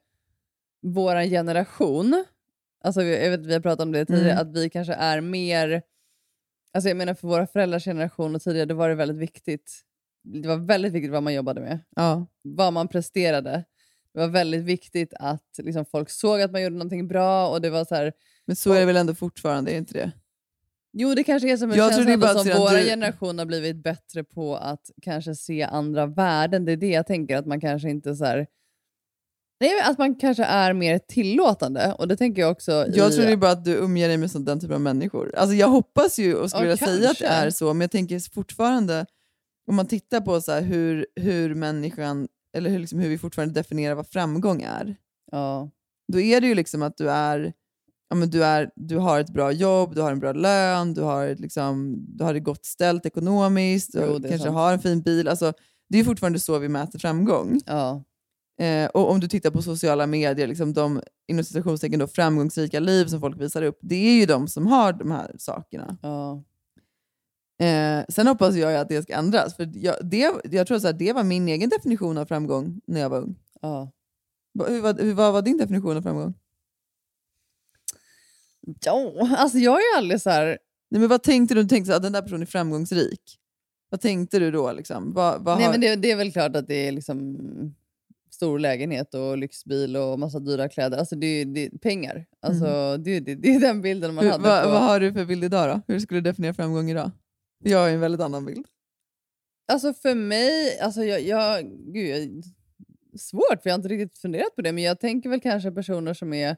vår generation. Alltså, vi- jag vet att vi har pratat om det tidigare, Mm. att vi kanske är mer... Alltså jag menar för våra föräldrars generation och tidigare, då var det väldigt viktigt. Det var väldigt viktigt vad man jobbade med. Ja. Vad man presterade. Det var väldigt viktigt att liksom, folk såg att man gjorde någonting bra och det var så här, Men så är det väl ändå fortfarande, är det inte det? Jo, det kanske är som en Jag jag tror det är bara som att vår du- generation har blivit bättre på att kanske se andra värden. Det är det jag tänker, att man kanske inte så här... Nej, men att man kanske är mer tillåtande. Och det tänker jag också Jag i... tror det är bara att du umger dig med sån- den typen av människor. Alltså jag hoppas ju och skulle Ja, vilja säga att det kanske. är så, men jag tänker fortfarande, om man tittar på så här hur, hur människan, eller hur, liksom, hur vi fortfarande definierar vad framgång är, Ja, då är det ju liksom att du är, ja, men du är du har ett bra jobb, du har en bra lön, du har, ett, liksom, du har det gott ställt ekonomiskt, Jo, du det är kanske sant. har en fin bil. Alltså, det är ju fortfarande så vi mäter framgång. ja, Eh, och om du tittar på sociala medier, liksom de inom citationstecken då, framgångsrika liv som folk visar upp, det är ju de som har de här sakerna. ja. Eh, sen hoppas jag ju att det ska ändras. För jag, det, jag tror att det var min egen definition av framgång när jag var ung. ja. Va- Hur, var- hur, vad var din definition av framgång? Ja, alltså jag är ju aldrig så här... Nej, men vad tänkte du? Du tänkte så att den där personen är framgångsrik. Vad tänkte du då? Liksom? Vad, vad Nej, har... men det, det är väl klart att det är liksom stor lägenhet och lyxbil och massa dyra kläder. Alltså det är ju det, pengar. Alltså det, är- det, det är den bilden man Mhm. hur, hade. vad, på... vad har du för bild idag då? Hur skulle du definiera framgång idag? Jag har ju en väldigt annan bild. Alltså för mig, alltså jag, jag, gud, jag, svårt för jag har inte riktigt funderat på det, men jag tänker väl kanske personer som är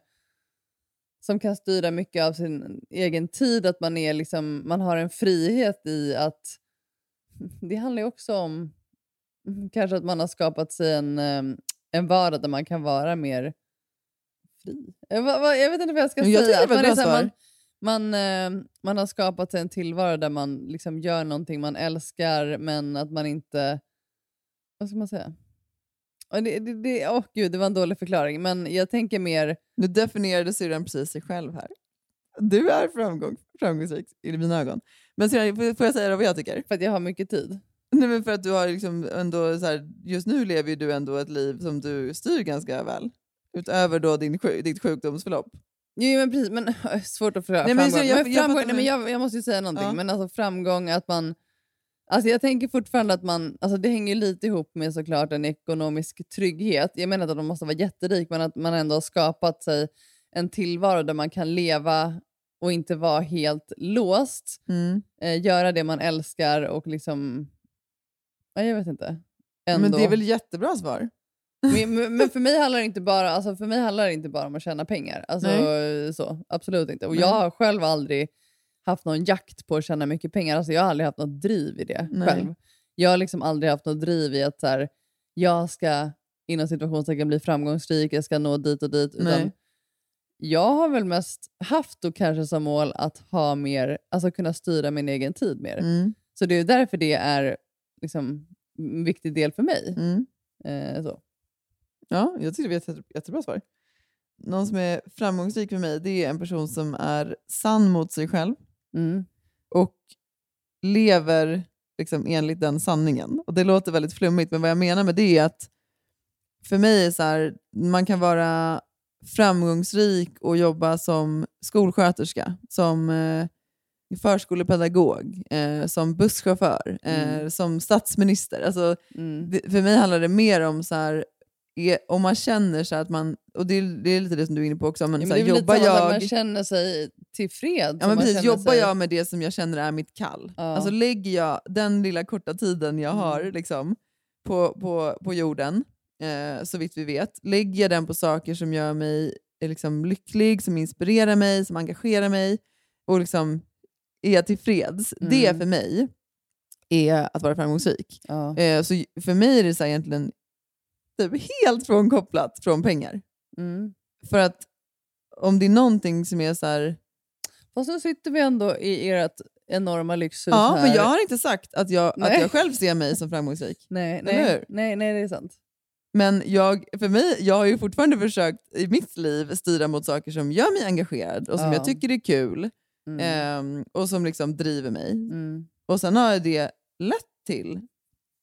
som kan styra mycket av sin egen tid, att man, är liksom, man har en frihet i att... *laughs* Det handlar ju också om *laughs* kanske att man har skapat sig en, eh, en vardag där man kan vara mer fri. Jag, va- va- jag vet inte vad jag ska Men jag säga. tycker det att var man, ett är bra så här, man, svar. Man, eh, man har skapat sig en tillvaro där man liksom gör någonting man älskar men att man inte... Vad ska man säga? Och det, det, det, åh gud, det var en dålig förklaring. Men jag tänker mer... Nu definierade syrran precis sig själv här. Du är framgång, framgångsrik i mina ögon. Men syrran, får- får jag säga då vad jag tycker? För att jag har mycket tid. Nej, men för att du har liksom ändå så här, just nu lever ju du ändå ett liv som du styr ganska väl. Utöver då din, sju- ditt sjukdomsförlopp. Jo, men precis. Men, *laughs* äh, svårt att förklara Nej, men så framgång. jag- men jag framgång, fattar nej, men nu. jag, jag måste ju säga någonting. Ja. Men alltså framgång, att man... Alltså jag tänker fortfarande att man... Alltså det hänger ju lite ihop med såklart en ekonomisk trygghet. Jag menar inte att man måste vara jätterik, men att man ändå har skapat sig en tillvaro där man kan leva och inte vara helt låst. Mm. Eh, göra det man älskar och liksom... Ja, jag vet inte. Ändå. Men det är väl jättebra svar? Men, men- men för mig handlar det inte bara, alltså för mig handlar det inte bara om att tjäna pengar. Alltså, så, absolut inte. Och jag har själv aldrig haft någon jakt på att tjäna mycket pengar. Alltså, jag har aldrig haft något driv i det Nej. själv. Jag har liksom aldrig haft något driv i att så här, jag ska inom situationstecken bli framgångsrik, jag ska nå dit och dit. Utan Nej. jag har väl mest haft då kanske som mål att ha mer, alltså kunna styra min egen tid mer. Mm. Så det är ju därför det är liksom, en viktig del för mig. Mm. Eh, så. Ja, jag tycker det är ett jätte- jättebra svar. Någon som är framgångsrik för mig det är en person som är sann mot sig själv Mm. och lever liksom enligt den sanningen. Och Det låter väldigt flummigt, men vad jag menar med det är att för mig är så här, man kan vara framgångsrik och jobba som skolsköterska, som eh, förskolepedagog, eh, som busschaufför, eh, som statsminister. Alltså, Mm. det, för mig handlar det mer om så här, är, om man känner så här att man, och det är, det är lite det som du är inne på också, men, Ja, men så det är här, väl jobbar lite jag... att jag... man känner sig tillfreds. Ja, om men man precis, känner jobbar sig... jag med det som jag känner är mitt kall? Ja. Mm. Alltså lägger jag den lilla korta tiden jag har liksom, på, på, på jorden, eh, så vitt vi vet, lägger jag den på saker som gör mig eh, liksom, lycklig, som inspirerar mig, som engagerar mig och liksom, är jag tillfreds? Det Mm. för mig är att vara framgångsrik. Ja. Eh, så j- för mig är det så här egentligen typ helt frånkopplat från pengar. Mm. För att om det är någonting som är så här... Fast nu sitter vi ändå i ert enorma lyxhus Ja, här. men jag har inte sagt att jag, att Nej. jag själv ser mig som framgångsrik. Nej, Eller nej, hur? nej, nej, det är sant. Men jag, för mig, jag har ju fortfarande försökt i mitt liv styra mot saker som gör mig engagerad och som Ja. jag tycker är kul Mm. ehm, och som liksom driver mig. Mm. Och sen har det lett till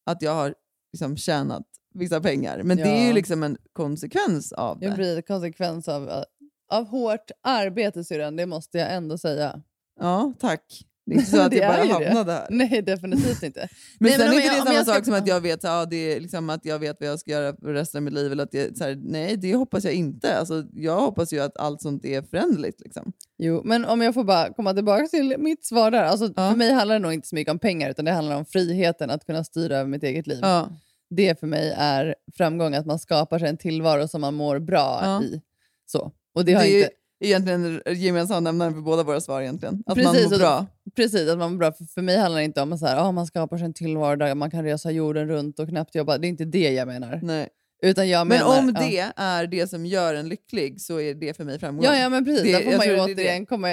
att jag har liksom tjänat vissa pengar. Men det är Ja. ju liksom en konsekvens av det. Jag blir en konsekvens av, eh, av hårt arbete syrran, det måste jag ändå säga. *laughs* Ja, tack. Det är inte så att Det jag är bara ju det. hamnade här. Nej, definitivt *laughs* inte. Men Nej, sen men om är inte jag- det om samma jag ska- sak som att jag vet, ja, det är liksom att jag vet vad jag ska göra för resten av mitt liv. Eller att det, så här, nej, det hoppas jag inte. Alltså, jag hoppas ju att allt sånt är föränderligt. Liksom. Jo, men om jag får bara komma tillbaka till mitt svar där. Alltså, Ja. För mig handlar det nog inte så mycket om pengar, utan det handlar om friheten att kunna styra över mitt eget liv. Ja. det för mig är framgång, att man skapar sig en tillvaro som man mår bra Ja. i. Så. Och det Det har är ju inte, egentligen gemensam nämnaren för båda våra svar egentligen. Att man Precis, mår och- bra. precis, att man mår bra. För, för mig handlar det inte om att så här, ah, man skapar sig en tillvaro där man kan resa jorden runt och knappt jobba. Det är inte det jag menar. Nej. Utan jag Mm. Men menar, om ja. det är det som gör en lycklig så är det för mig framgång. Ja, ja men precis. Det- där får jag man ju tror det är det. återigen komma,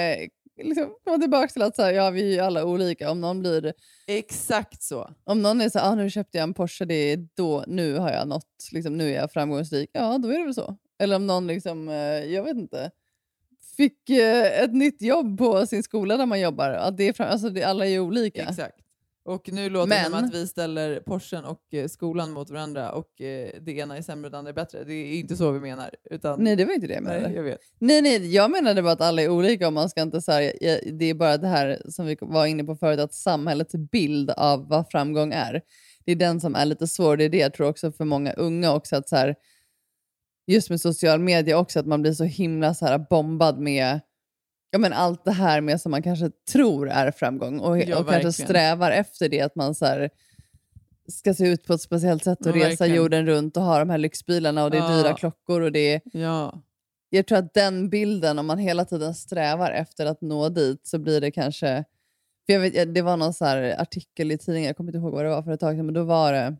liksom, komma tillbaka till att så här, ja, vi är ju alla olika. Om någon, blir, Exakt så. om någon är så här, ah, nu köpte jag en Porsche, det är då, nu har jag nått, liksom, nu är jag framgångsrik. Ja, då är det väl så. Eller om någon, liksom, eh, jag vet inte, fick eh, ett nytt jobb på sin skola där man jobbar. Ja, det är fram, alltså, det, alla är ju olika. Exakt. Och nu låter det Men- som att vi ställer Porschen och eh, skolan mot varandra och eh, det ena är sämre och det andra är bättre. Det är inte så vi menar. Utan, Nej, det var inte det jag menade. Nej, jag vet. Nej, nej, jag menade bara att alla är olika och man ska inte så här, jag, det är bara det här som vi var inne på förut, att samhällets bild av vad framgång är, det är den som är lite svår. Det är det jag tror också för många unga också, att så här, just med social media också, att man blir så himla så här bombad med ja, men allt det här med som man kanske tror är framgång och, Ja, och kanske verkligen. strävar efter det, att man så här, ska se ut på ett speciellt sätt och Ja, resa verkligen. Ah. jorden runt och ha de här lyxbilarna och det är Ja. dyra klockor och det är Ja. jag tror att den bilden, om man hela tiden strävar efter att nå dit så blir det kanske... För jag vet, det var någon så här artikel i tidningen, jag kommer inte ihåg vad det var för ett tag sedan, men då var det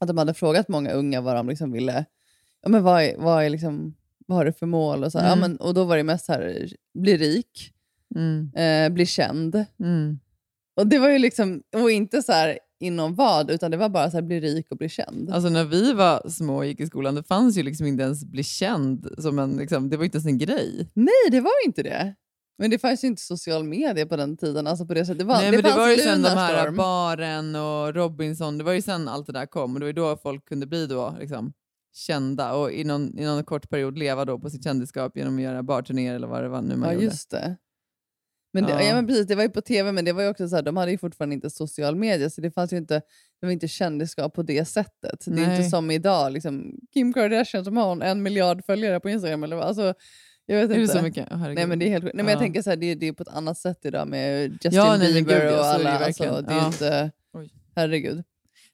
att de hade frågat många unga vad de liksom ville... Ja, men vad, är, vad, är liksom, vad har du för mål? Och, så här, ja, Mm. men, och då var det mest så här, bli rik, Mm. eh, bli känd. Mm. Och det var ju liksom, och inte så här inom vad, utan det var bara så här bli rik och bli känd. Alltså när vi var små och gick i skolan, det fanns ju liksom inte ens bli känd. Som en, liksom, det var inte ens en grej. Nej, det var inte det. Men det fanns ju inte social media på den tiden. Alltså på det sättet. Det, var, Nej, det men det fanns var ju sen de här Lunarstorm. baren och Robinson, det var ju sen allt det där kom. Och det var ju då folk kunde bli då, liksom, kända och i någon, i någon kort period leva då på sitt kändisskap genom att göra barturnéer eller vad det var nu man Ja, gjorde. just det. Men det, ja. Ja. men precis, det var ju på tv, men det var ju också så här, de hade ju fortfarande inte social media, så det fanns ju inte, det var inte kändisskap på det sättet. Det är ju inte Nej. som idag, liksom, Kim Kardashian som har en miljard följare på Instagram. Eller vad. Alltså, jag vet Är det inte. så mycket? Åh, herregud. Nej, men det är helt sjukt. Nej, men jag Ja. tänker så här, det, det är på ett annat sätt idag med Justin Ja, nej, men Bieber gud, ja, och så är det alla. ju Det alltså, verkligen. det är ju Ja. inte, Oj. herregud.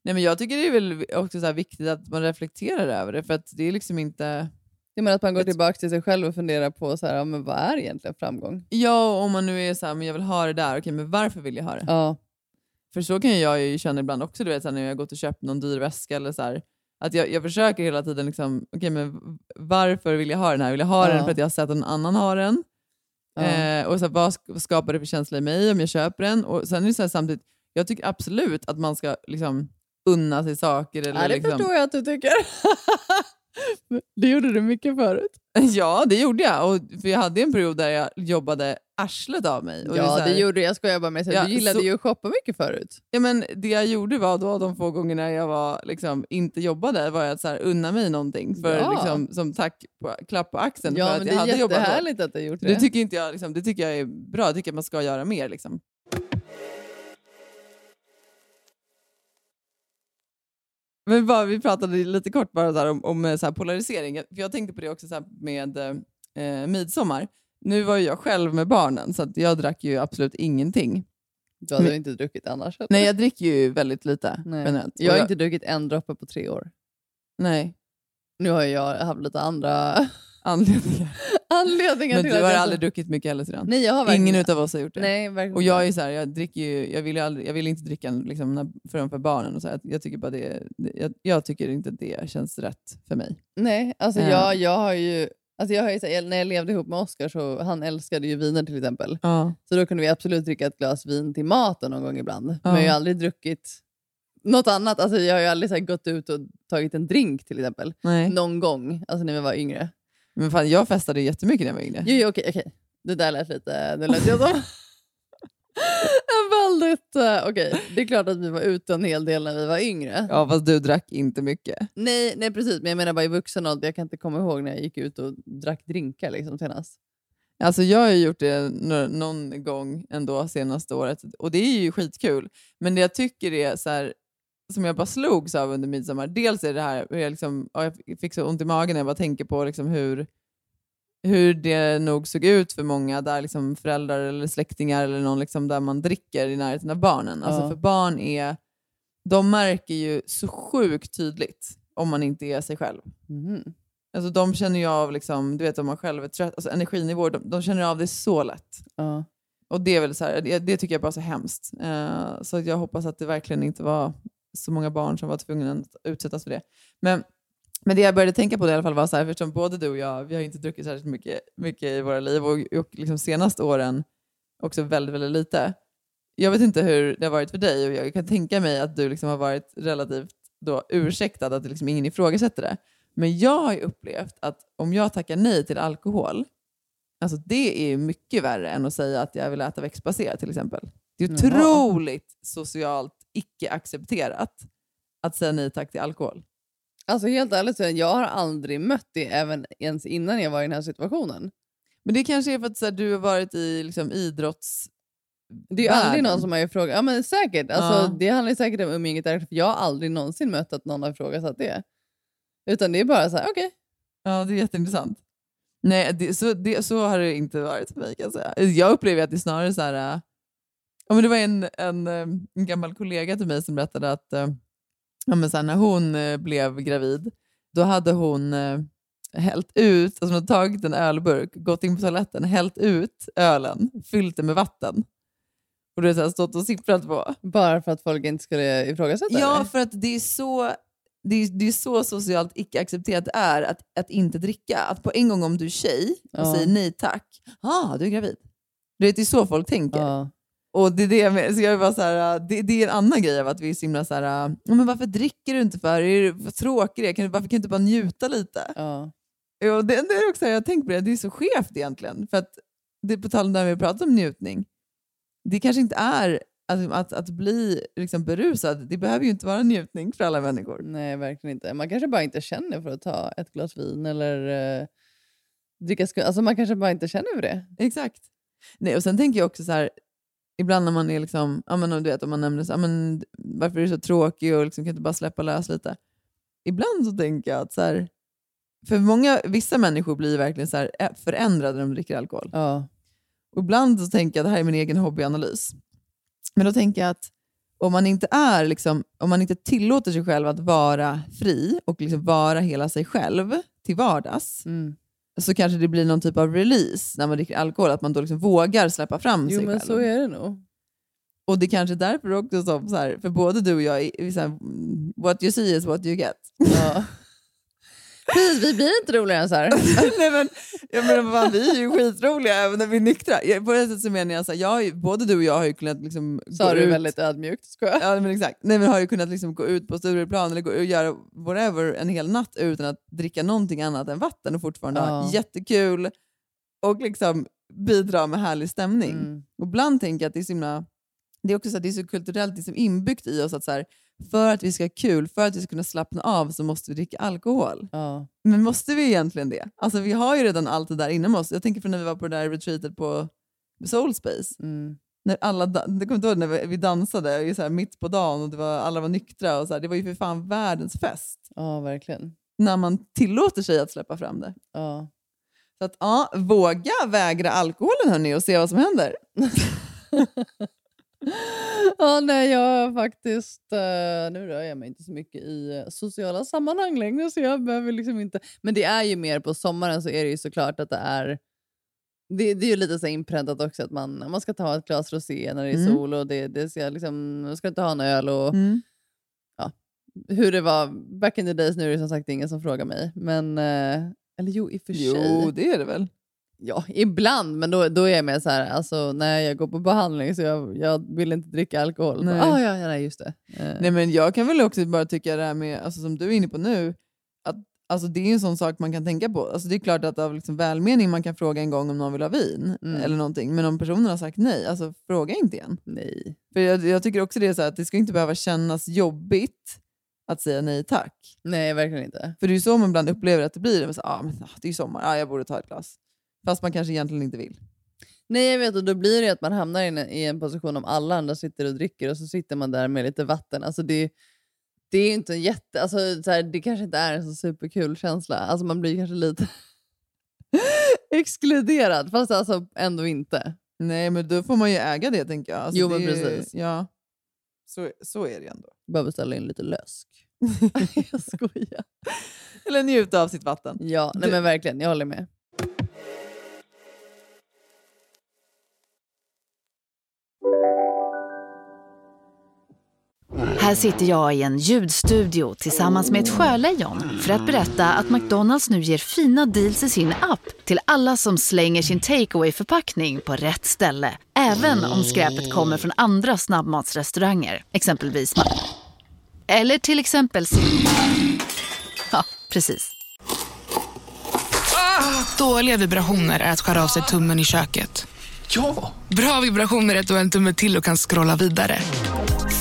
Nej, men jag tycker det är väl också så här viktigt att man reflekterar över det, för att det är liksom inte... Jag menar att man går Jag- tillbaka till sig själv och funderar på så här, ja, men vad är egentligen framgång? Ja, och om man nu är så här, men jag vill ha det där, okej, men varför vill jag ha det? Ja, För så kan jag ju känna ibland också, du vet, så här, när jag har gått och köpt någon dyr väska eller så här, att jag, jag försöker hela tiden, liksom, okej, men varför vill jag ha den här? Vill jag ha Ja. den för att jag har sett att någon annan har den? ja. Eh, och så här, vad sk- skapar det för känsla i mig om jag köper den? Och sen är det så här, samtidigt, jag tycker absolut att man ska liksom, unna sig saker. Eller, ja det liksom, förstår jag att du tycker. *laughs* det gjorde du mycket förut. *laughs* Ja, det gjorde jag. Och, för jag hade en period där jag jobbade arslet av mig. Och är så Ja, här- det gjorde jag. Jag skojar bara med dig. Ja, du gillade så- ju att shoppa mycket förut. Ja, men det jag gjorde var då de få gångerna jag var, liksom, inte jobbade var att så här, unna mig någonting för, Ja. liksom, som tack på, klapp på axeln Ja, för men att det jag är hade jobbat hårt. jättehärligt att du gjort det. Det tycker, inte jag, liksom, det tycker jag är bra. Jag tycker att man ska göra mer. Liksom. Men bara, vi pratade lite kort bara så här, om, om eh, så här, polarisering. Jag- För jag tänkte på det också så här, med eh, midsommar. Nu var ju jag själv med barnen så att jag drack ju absolut ingenting. Du hade ju inte druckit annars. eller? Nej, jag dricker ju väldigt lite Nej. generellt. Jag Och har inte druckit en droppe på tre år. Nej, Nu har jag haft lite andra *laughs* anledningar. anledningar Men till du att har jag... aldrig druckit mycket heller Syrran. Nej, jag har verkligen... Ingen utav oss har gjort det. Nej, verkligen Och jag är inte. så här, jag dricker ju, jag vill, ju aldrig, jag vill inte dricka liksom, när- framför barnen och så här. Jag tycker bara det, jag, jag tycker inte det känns rätt för mig. Nej, alltså Eh. jag, jag har ju... Alltså jag har ju så här, när jag levde ihop med Oscar så han älskade ju viner till exempel. Ja. Så då kunde vi absolut dricka ett glas vin till maten någon gång ibland. Men Ja. jag har ju aldrig druckit något annat. Alltså jag har ju aldrig så här, gått ut och tagit en drink till exempel. Nej. Någon gång, alltså när vi var yngre. Men fan, jag festade ju jättemycket när jag var yngre. Jo, jo okej, okej. Det där lät lite... Det lät jag *laughs* som... en väldigt... eh, Okej, det är klart att vi var ute en hel del när vi var yngre. Ja, fast du drack inte mycket. Nej, nej, precis. Men jag menar bara i vuxen ålder. Jag kan inte komma ihåg när jag gick ut och drack drinkar liksom senast. Alltså jag har ju gjort det nå- någon gång ändå senaste året och det är ju skitkul. Men det jag tycker är så här, som jag bara slogs av under midsommar, dels är det här hur jag, liksom, ja, jag fick så ont i magen när jag bara tänker på liksom hur, hur det nog såg ut för många där liksom föräldrar eller släktingar eller någon liksom där man dricker i närheten av barnen. Alltså Ja. för barn är, de märker ju så sjukt tydligt om man inte är sig själv. Mhm. Alltså de känner ju av, liksom, du vet om man själv är trött, alltså energinivåer, de, de känner av det så lätt. Ja. Och det är väl så här, det, det tycker jag bara är så hemskt. Eh, så jag hoppas att det verkligen inte var så många barn som var tvungna att utsättas för det. Men, men det jag började tänka på det i alla fall var så här, eftersom både du och jag, vi har inte druckit särskilt mycket, mycket i våra liv och, och liksom senaste åren också väldigt, väldigt lite. Jag vet inte hur det har varit för dig och jag kan tänka mig att du liksom har varit relativt då ursäktad, att det liksom ingen ifrågasätter det. Men jag har ju upplevt att om jag tackar nej till alkohol, alltså det är ju mycket värre än att säga att jag vill äta växtbaserat till exempel. Det är ju Jaha. otroligt socialt icke-accepterat att säga nej tack till alkohol. Alltså helt ärligt, så jag har aldrig mött det även ens innan jag var i den här situationen. Men det kanske är för att så här, du har varit i liksom, idrotts... Det är ju Världen. aldrig någon som har ifrågasatt. Ja men säkert. Alltså, Ja. Det handlar säkert om umgänget där. För jag har aldrig någonsin mött att någon har ifrågasatt det. Utan det är bara så här, okej. Ja, det är jätteintressant. Nej, det, så, det, så har det inte varit för mig kan jag säga. Jag upplever att det är snarare så här... äh, Ja, men det var en, en, äh, en gammal kollega till mig som berättade att äh, ja, men så här, när hon äh, blev gravid, då hade hon äh, hällt ut, alltså hon hade tagit en ölburk, gått in på toaletten, hällt ut ölen, fyllt den med vatten. Och det har så här stått och sipprat på. Bara för att folk inte skulle ifrågasätta Ja, det? för att det är så, det är, det är så socialt icke-accepterat det är att, att inte dricka. Att på en gång om du är tjej och Ja. säger nej tack, ah, du är gravid. Du vet, det är så folk tänker. Ja. Och det är det jag menar. så jag är bara så här, äh, det, det är en annan grej av att vi är så himla så här, äh, "Ja, men varför dricker du inte för? Är du, vad tråkig du är. Kan, du- varför kan du inte bara njuta lite? Ja. Jo, det, det är också så här, jag har tänkt på det, det är så skevt egentligen. För att det på tal om när vi pratar om njutning, det kanske inte är att, att, att bli liksom berusad, det behöver ju inte vara njutning för alla människor. Nej, verkligen inte. Man kanske bara inte känner för att ta ett glas vin eller eh, dricka skum. Alltså man kanske bara inte känner för *laughs* det. Exakt. Nej, och sen tänker jag också så här, ibland när man är liksom, ja men om du vet om man nämner så, ja men varför är du så tråkig och liksom kan inte bara släppa lös lite? Ibland så tänker jag att så här, för många, vissa människor blir verkligen så här eh, förändrade när de dricker alkohol. Ja. Och ibland så tänker jag, det här är min egen hobbyanalys, men då tänker jag att om man inte, är liksom, om man inte tillåter sig själv att vara fri och liksom vara hela sig själv till vardags Mm. så kanske det blir någon typ av release när man dricker alkohol, att man då liksom vågar släppa fram Jo, sig men själv. så är det nog. Och det kanske är därför också som, så här, för både du och jag, är, är så här, mm, what you see is what you get. Ja. Precis, vi blir inte roligare än så här. Nej, men, jag menar, fan, vi är ju skitroliga även när vi är nyktra. Jag- På ett sätt så menar jag, så här, jag har ju, både du och jag har ju kunnat liksom Sa gå du ut väldigt ödmjukt. Skoja. Ja, men exakt. Nej, men har ju kunnat liksom gå ut på Stureplan eller gå och göra whatever en hel natt utan att dricka någonting annat än vatten och fortfarande ha Ja. jättekul och liksom bidra med härlig stämning. Mm. Och ibland tänker jag att det är så himla, det är också så, att det är så kulturellt liksom inbyggt i oss att så här, för att vi ska ha kul, för att vi ska kunna slappna av så måste vi dricka alkohol. Ja. Men måste vi egentligen det? Alltså vi har ju redan allt det där inom oss. Jag tänker för när vi var på det där retreatet på Soul Space Mm. när alla, da- det kommer inte ihåg när vi- vi dansade ju så här mitt på dagen och det var, alla var nyktra. Och så här, det var ju för fan världens fest ja, verkligen. när man tillåter sig att släppa fram det. Ja. Så att ja, våga vägra alkoholen hörni och se vad som händer. Ja, nej, jag har faktiskt... eh, nu rör jag mig inte så mycket i eh, sociala sammanhang längre, så jag behöver liksom inte... Men det är ju mer på sommaren så är det ju såklart att det är... Det, det är ju lite så här inpräntat också att man, man ska ta ett glas rosé när det är Mm. sol och det, det ska liksom, man ska inte ha en öl och hur det var back in the days. Nu är det som sagt ingen som frågar mig. Men, eh, eller jo, i och för sig. Jo, det är det väl. Ja, ibland, men då, då är jag mer så här, alltså när jag går på behandling så jag, jag vill inte dricka alkohol. Nej. Nej. Ah, ja, ja, nej, just det. Eh, Nej, men jag kan väl också bara tycka det här med, alltså, som du är inne på nu, att alltså, det är ju en sån sak man kan tänka på. Alltså, det är klart att av liksom, välmening man kan fråga en gång om någon vill ha vin Mm. eller någonting, men om personen har sagt nej, alltså fråga inte igen. nej. För jag, jag tycker också det är så här att det ska inte behöva kännas jobbigt att säga nej tack. nej, verkligen inte. För det är ju så man ibland upplever att det blir. Men så, ah, men, ah, det är ju sommar, ah, jag borde ta ett glas. Fast man kanske egentligen inte vill. Nej, jag vet och då blir det att man hamnar i en, i en position om alla andra sitter och dricker och så sitter man där med lite vatten. Alltså det, det är ju inte en jätte... Alltså, så här, det kanske inte är en så superkul känsla. Alltså man blir kanske lite *laughs* exkluderad, fast alltså ändå inte. Nej, men då får man ju äga det tänker jag. Alltså, Jo, det men är ju- precis. Ja. Så, så är det ju ändå. Bara beställa in lite *laughs* lösk. jag skojar. Eller njuta av sitt vatten. Ja, nej, men verkligen. Jag håller med. Här sitter jag i en ljudstudio tillsammans med ett sjölejon för att berätta att McDonalds nu ger fina deals i sin app till alla som slänger sin takeaway förpackning på rätt ställe. Även om skräpet kommer från andra snabbmatsrestauranger, exempelvis Ma- Eller till exempel Sim- Ja, precis. Dåliga vibrationer är att skära av sig tummen i köket. Ja! Bra vibrationer är att du har en tumme till och kan scrolla vidare.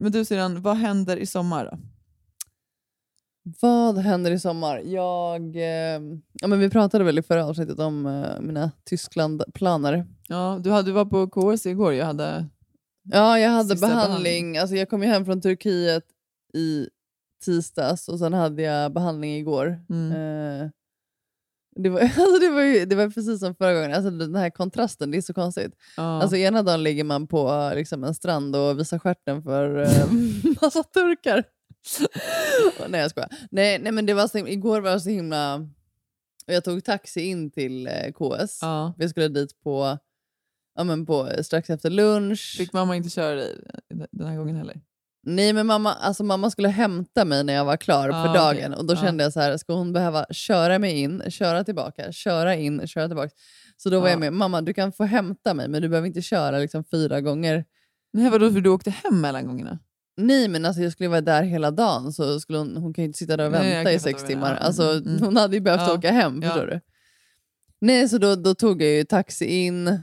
Men du syrran, vad händer i sommar då? Vad händer i sommar? Jag, eh, ja, men vi pratade väl i förra avsnittet om eh, mina Tyskland-planer. Ja, du, hade, du var på KS igår. Jag hade... Ja, jag hade Sista behandling. behandling. Alltså, jag kom ju hem från Turkiet Eh, i tisdags och sen hade jag behandling igår. Mm. Eh, Det var, *laughs* alltså det, var ju, det var precis som förra gången, alltså den här kontrasten, det är så konstigt. Alltså ena dagen ligger man på liksom, en strand och visar stjärten för eh, *laughs* massa turkar. *laughs* Och nej jag skojar. Nej, nej men det var så, himla- igår var det så himla... och Jag tog taxi in till eh, KS. Vi skulle dit på, ja, men på strax efter lunch. Fick mamma inte köra dig den här gången heller? Nej, men mamma, alltså mamma skulle hämta mig när jag var klar Ah, för okej. dagen. Och Då Ah. kände jag så här, ska hon behöva köra mig in, köra tillbaka, köra in, köra tillbaka. Så då var Ah. jag med, mamma du kan få hämta mig men du behöver inte köra liksom fyra gånger. Nej, vadå? För du åkte hem mellan gångerna? Nej, men alltså jag skulle vara där hela dagen så skulle hon, hon kan ju inte sitta där och Nej, jag vänta kan i fatta sex vad du timmar. menar. Alltså, Mm, mm. Hon hade ju behövt Ja, åka hem, ja. förstår du? Nej, så då, då tog jag ju taxi in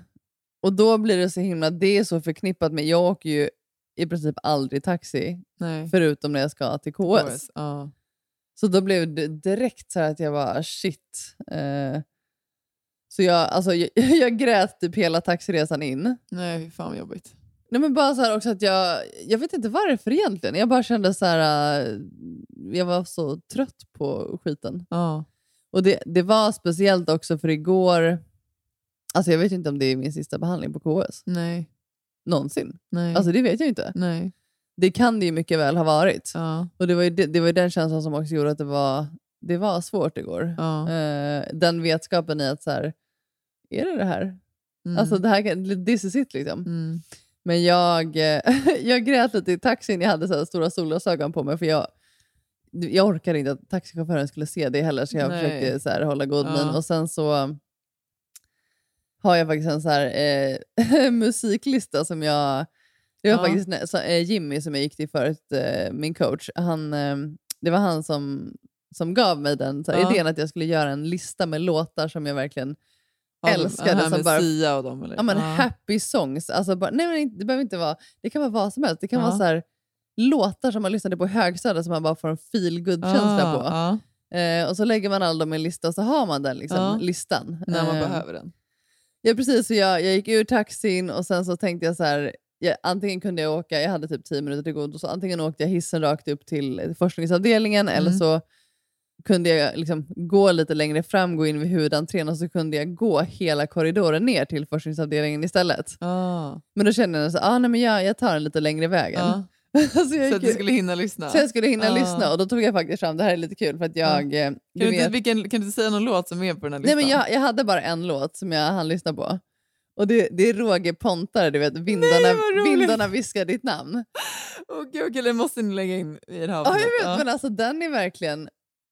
och då blir det så himla, det är så förknippat med, jag åker ju i princip aldrig taxi Nej. förutom när jag ska till KS. KS, ja. Så då blev det direkt så här att jag var shit. Eh, så jag, alltså, jag, *laughs* jag grät typ hela taxiresan in. Nej, fy fan vad jobbigt. Nej, men bara så här också att jag, jag vet inte varför egentligen. Jag bara kände så här, eh, jag var så trött på skiten. Ja. Och det, det var speciellt också för igår, alltså jag vet inte om det är min sista behandling på KS. Nej. Någonsin. Nej. Alltså det vet jag inte. Nej. Det kan det ju mycket väl ha varit. Ja. Och det var ju, det, det var ju den känslan som också gjorde att det var, det var svårt igår. Ja. Eh, den vetskapen i att så här, är det det här? Mm. Alltså det här kan, this is it liksom. Mm. Men jag, eh, *laughs* jag grät lite i taxin. Jag hade så här stora solglasögon på mig för jag, jag orkade inte att taxichauffören skulle se det heller så jag Nej. försökte så här, hålla god Ja. min. Och sen så har jag faktiskt en så här, eh, *laughs* musiklista som jag... Det var Ja. faktiskt nä- så, eh, Jimmy som jag gick till förut, eh, min coach. Han, eh, det var han som, som gav mig den så här, Ja. idén att jag skulle göra en lista med låtar som jag verkligen Ja, de- älskade. det här som med bara, Sia och dem, eller? Ja, men Ja. happy songs. Alltså bara, nej, men det behöver inte vara, det kan vara vad som helst. Det kan Ja. vara så här, låtar som man lyssnade på i högstadiet som man bara får en feel good känsla Ah, på. ja. Eh, och så lägger man alla dem i en lista och så har man den liksom, Ja. listan. När man Eh, behöver den. Ja, precis. Så jag, jag gick ur taxin och sen så tänkte jag så här, jag, antingen kunde jag åka, jag hade typ 10 minuter till god, och så antingen åkte jag hissen rakt upp till forskningsavdelningen eller Mm. så kunde jag liksom gå lite längre fram, gå in vid huvudentrén och så kunde jag gå hela korridoren ner till forskningsavdelningen istället. Ja. Men då kände jag så ah, nej, men jag, jag tar den lite längre vägen. *laughs* Ja. så, jag Så gick- att du skulle hinna lyssna. så jag skulle hinna Ja. lyssna och då tog jag faktiskt fram, det här är lite kul för att jag... eh, Kan du, inte, vilken, kan du inte säga någon låt som är på den här Nej, listan? men jag, jag hade bara en låt som jag hann lyssna på. Och det, det är Roger Pontare, du vet, vindarna, Nej, vad roligt. vindarna viskar ditt namn. Okej, okej, den måste ni lägga in i det Ja, här jag avsnittet. vet, Ja. men alltså den är verkligen...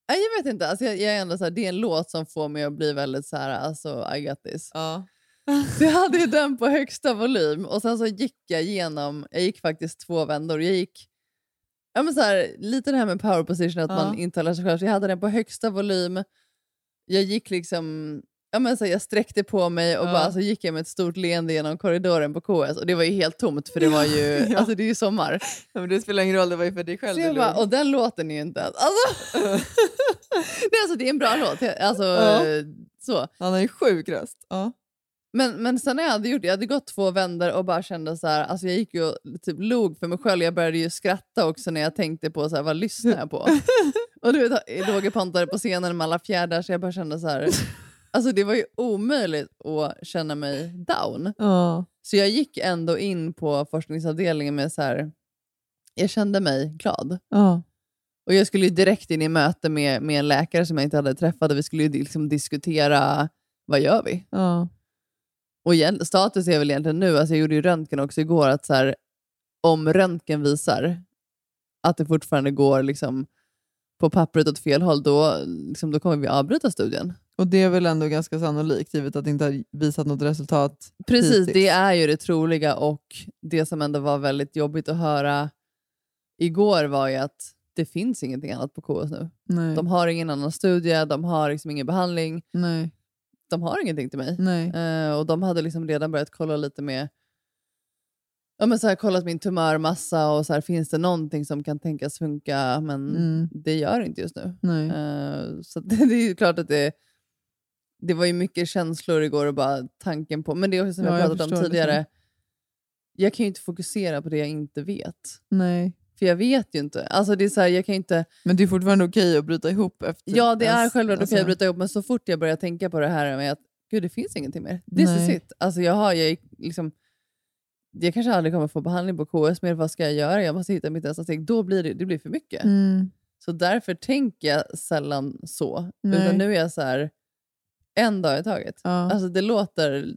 Nej, jag vet inte, alltså, jag, jag är ändå så här, det är en låt som får mig att bli väldigt så här, alltså I got this. Ja. Så jag hade ju den på högsta volym och sen så gick jag igenom, jag gick faktiskt två vändor. Jag gick ja, men så här, lite det här med power position, att Ja. man intalar sig själv. Så jag hade den på högsta volym. Jag gick liksom, ja, men så här, jag sträckte på mig och Ja. bara så gick jag med ett stort leende genom korridoren på KS och det var ju helt tomt för det var ju, *laughs* Ja. alltså det är ju sommar. Ja, men det spelar ingen roll, det var ju för dig själv Så jag du bara, log. och den låten är ju inte ens, *laughs* alltså, *laughs* nej, alltså det är en bra låt. Alltså, Ja. så. Han har ju sjuk röst. Ja. Men, men sen när jag hade gjort det, jag hade gått två vändor och bara kände så här, alltså jag gick ju och typ log för mig själv. Jag började ju skratta också när jag tänkte på så här, vad lyssnar jag på? och du vet, Roger Pontare på scenen med alla fjädrar så jag bara kände så här, alltså det var ju omöjligt att känna mig down. Ja. Så jag gick ändå in på forskningsavdelningen med så här, jag kände mig glad. Ja. Och jag skulle ju direkt in i möte med, med en läkare som jag inte hade träffat och vi skulle ju liksom diskutera, vad gör vi? Ja. Och igen, status är väl egentligen nu, alltså jag gjorde ju röntgen också igår, att så här, om röntgen visar att det fortfarande går liksom på pappret åt fel håll, då, liksom, då kommer vi avbryta studien. Och det är väl ändå ganska sannolikt givet Typ, att det inte har visat något resultat. Precis, Hittills. det är ju det troliga och det som ändå var väldigt jobbigt att höra igår var ju att det finns ingenting annat på KS nu. Nej. De har ingen annan studie, de har liksom ingen behandling, Nej. de har ingenting till mig. Nej. Eh, och de hade liksom redan börjat kolla lite med Ja, men så här, kollat min tumörmassa och så här, finns det någonting som kan tänkas funka, men Mm. det gör det inte just nu. Nej. Eh, så att *laughs* det, det är ju klart att det, det var ju mycket känslor igår och bara tanken på, men det är också som Ja, jag jag pratat om förstår det tidigare, som- jag kan ju inte fokusera på det jag inte vet. Nej. För jag vet ju inte. Alltså det är så här, jag kan ju inte... Men det är fortfarande okej att bryta ihop efter... Ja, det är ens- självklart okej alltså- att bryta ihop, men så fort jag börjar tänka på det här med att gud, det finns ingenting mer. This Nej. is it. Alltså jag har, jag är liksom... Jag kanske aldrig kommer få behandling på KS, men vad ska jag göra? Jag måste hitta mitt nästa steg. Då blir det, det blir för mycket. Mm. Så därför tänker jag sällan så. Nej. Utan nu är jag så här, en dag i taget. Alltså det låter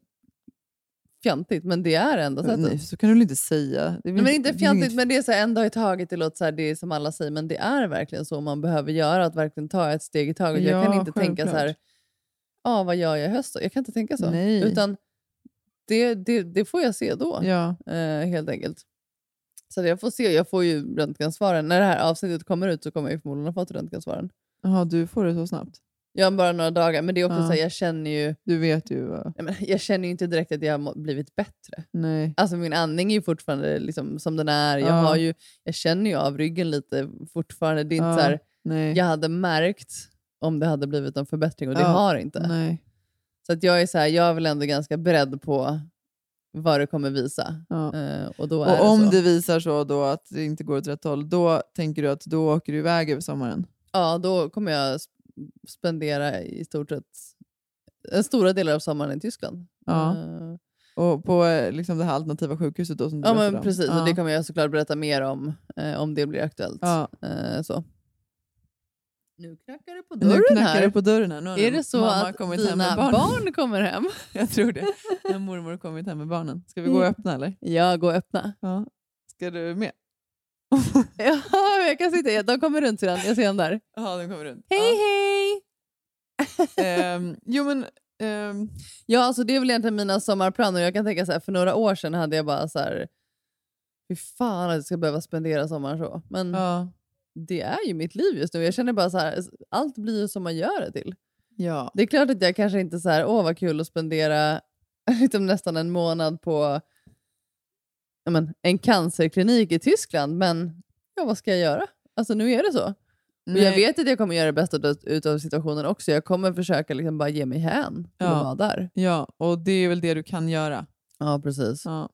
fjantigt, men det är enda sättet. Nej, så kan du väl inte säga? Det är väl Nej, typ. men inte det är fjantigt, inget- men det är så här, en dag i taget. Det låter så här, det är som alla säger, men det är verkligen så man behöver göra. Att verkligen ta ett steg i taget. jag kan Ja, inte tänka så här, självklart. ja vad gör jag i höst då? Jag kan inte tänka så. Nej. Utan det, det, det får jag se då, Ja. eh, helt enkelt. Så jag får se, jag får ju röntgensvaren. När det här avsnittet kommer ut så kommer jag ju förmodligen ha fått röntgensvaren. Jaha, du får det så snabbt? Jag har bara några dagar, men det är också Ja. så här, jag känner ju... Du vet ju vad... Nej, men Jag känner ju inte direkt att jag har må- blivit bättre. Nej. Alltså min andning är ju fortfarande liksom som den är. Jag, Ja. har ju, jag känner ju av ryggen lite fortfarande. Det är inte Ja, så här, nej. jag hade märkt om det hade blivit en förbättring och det Ja, har det inte. Nej. Så att jag är så här, jag är väl ändå ganska beredd på vad det kommer visa. Eh, och då är Och om det så. det visar så då att det inte går åt rätt håll, då tänker du att då åker du iväg över sommaren? Ja, då kommer jag sp- spendera i stort sett eh, stora delar av sommaren i Tyskland. Ja. Eh, Och på eh, liksom det här alternativa sjukhuset då som du Ja, berättade men om? precis. Ja. Och det kommer jag såklart berätta mer om, eh, om det blir aktuellt. Ja. Eh, så. Nu knackar det på nu dörren knackar här. det på dörren här. Nu har är din det så mamma att kommit hem med dina barn. barnen? kommer hem? Jag tror det. När mormor har kommit hem med barnen. Ska vi gå och Mm. öppna eller? Ja, gå och öppna. Ja. Ska du med? Ja, *laughs* men jag kan sitta. De kommer runt sedan. Jag ser dem där. Ja, den kommer runt. Hej, hej! Ehm, jo, men... ehm, Ja, alltså det är väl egentligen mina sommarplaner. Jag kan tänka så här, för några år sedan hade jag bara så här, fy fan att jag ska behöva spendera sommaren så. Men ja. det är ju mitt liv just nu. Jag känner bara så här, allt blir ju som man gör det till. ja. Det är klart att jag kanske inte så här, åh vad kul att spendera *laughs* liksom nästan en månad på ja, men, en cancerklinik i Tyskland, men ja, vad ska jag göra? Alltså nu är det så. Och jag Nej. vet att jag kommer göra det bästa ut- utav situationen också. Jag kommer försöka liksom bara ge mig hän till Ja. att vara där. Ja, och det är väl det du kan göra. Ja, precis. Ja.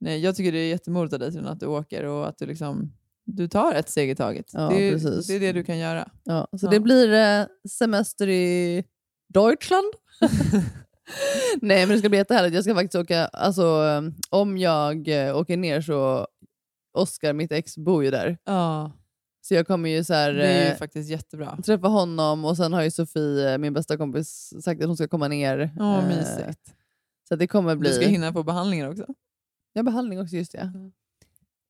Nej, jag tycker det är jättemodigt av dig Trina, att du åker och att du liksom du tar ett steg i taget. Ja, det, precis. är, det är det du kan göra. Ja, så Ja. det blir eh, semester i Deutschland. *laughs* Nej, men det ska bli jättehärligt. Jag ska faktiskt åka, alltså eh, om jag eh, åker ner så, Oskar, mitt ex, bor ju där. Ja, Så jag kommer ju så här, det är ju eh, faktiskt jättebra. träffa honom och sen har ju Sofie, eh, min bästa kompis, sagt att hon ska komma ner. Ja, Eh, mysigt. Så att det kommer bli... Du ska hinna på behandlingar också. Ja, behandling också, just det.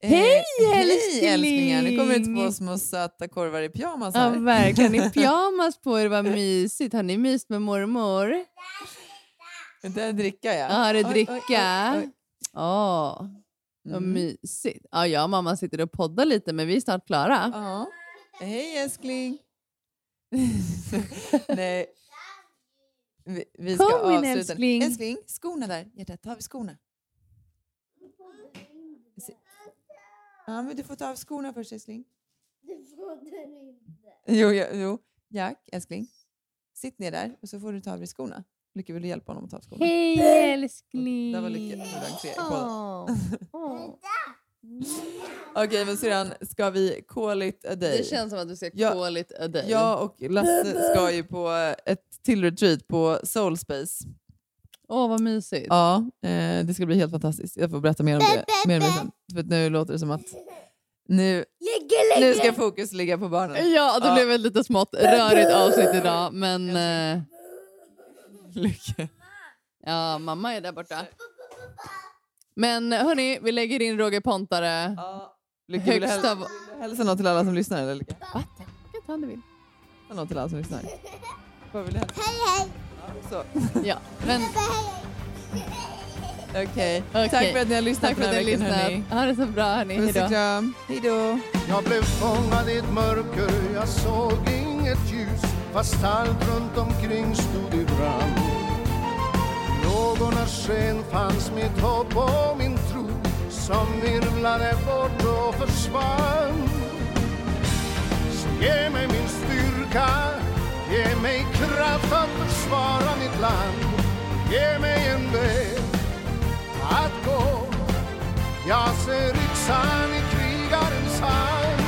Hej älskling! Hej älsklingar! Nu kommer det två små söta korvar i pyjamas Ja, här. verkligen. *laughs* I pyjamas på er, vad mysigt. Har ni myst med mormor? Det är dricka ja. Ja, det är Oj, dricka. oj, Mm. oj, oj. Åh, vad mysigt. Ja, jag och mamma sitter och poddar lite, men vi är snart klara. Ja. Hej älskling! Nej. Vi, vi ska Kom in, avsluta. älskling. Älskling, skorna där. Hjärtat, ta av skorna. Se- Ja, men du får ta av skorna först älskling. Jo, ja, jo. Jack, älskling. Sitt ner där och så får du ta av dig skorna. Lycka, vill du hjälpa honom att ta av skorna? Hej älskling! Där var Lycka. Nu rann tre i kolan. Åh. Åh. Okej, men syrran, ska vi call it a day? Det känns som att du ska Ja. call it a day. Jag och Lasse ska ju på eh, ett till retreat på Soul Space. Åh, vad mysigt. Ja, eh, det ska bli helt fantastiskt. Jag får berätta mer om det, mer om det sen. För att nu låter det som att nu, nu ska fokus ligga på barnen. Ja, det Ja. blev ett lite smått rörigt avsnitt idag, men... eh, Lycka. Ja, mamma är där borta. Men hörni, vi lägger in Roger Pontare. Lycka, vill du Högsta häl- av- vill du hälsa något till alla som lyssnar? Eller Lycka? Du kan ta om du vill. Hälsa något till alla som lyssnar. Vad vill du hälsa? Hej, hej! Så. *laughs* Ja, *laughs* men Okej. Okej. Tack för att ni har lyssnat tack för den att ni här har veckan, hörni. lyssnat. Ha det så bra hörni. Puss Hejdå. och kram. Hej då! Jag blev fångad i ett mörker, jag såg inget ljus fast allt runt omkring stod i brand. Lågornas sken fanns mitt hopp och min tro som virvlade bort och försvann. Så ge mig min styrka, ge mig kraft att försvara mitt land. Ge mig en väg att gå jag ser yxan i krigarens hand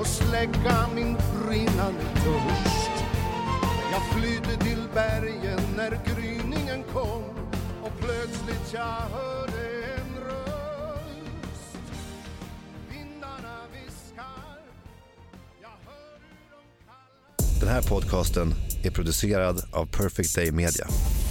och släcka min brinnande törst. Jag flydde till bergen när gryningen kom och plötsligt jag hörde en röst. Vindarna viskar, jag hör Den här podcasten är producerad av Perfect Day Media.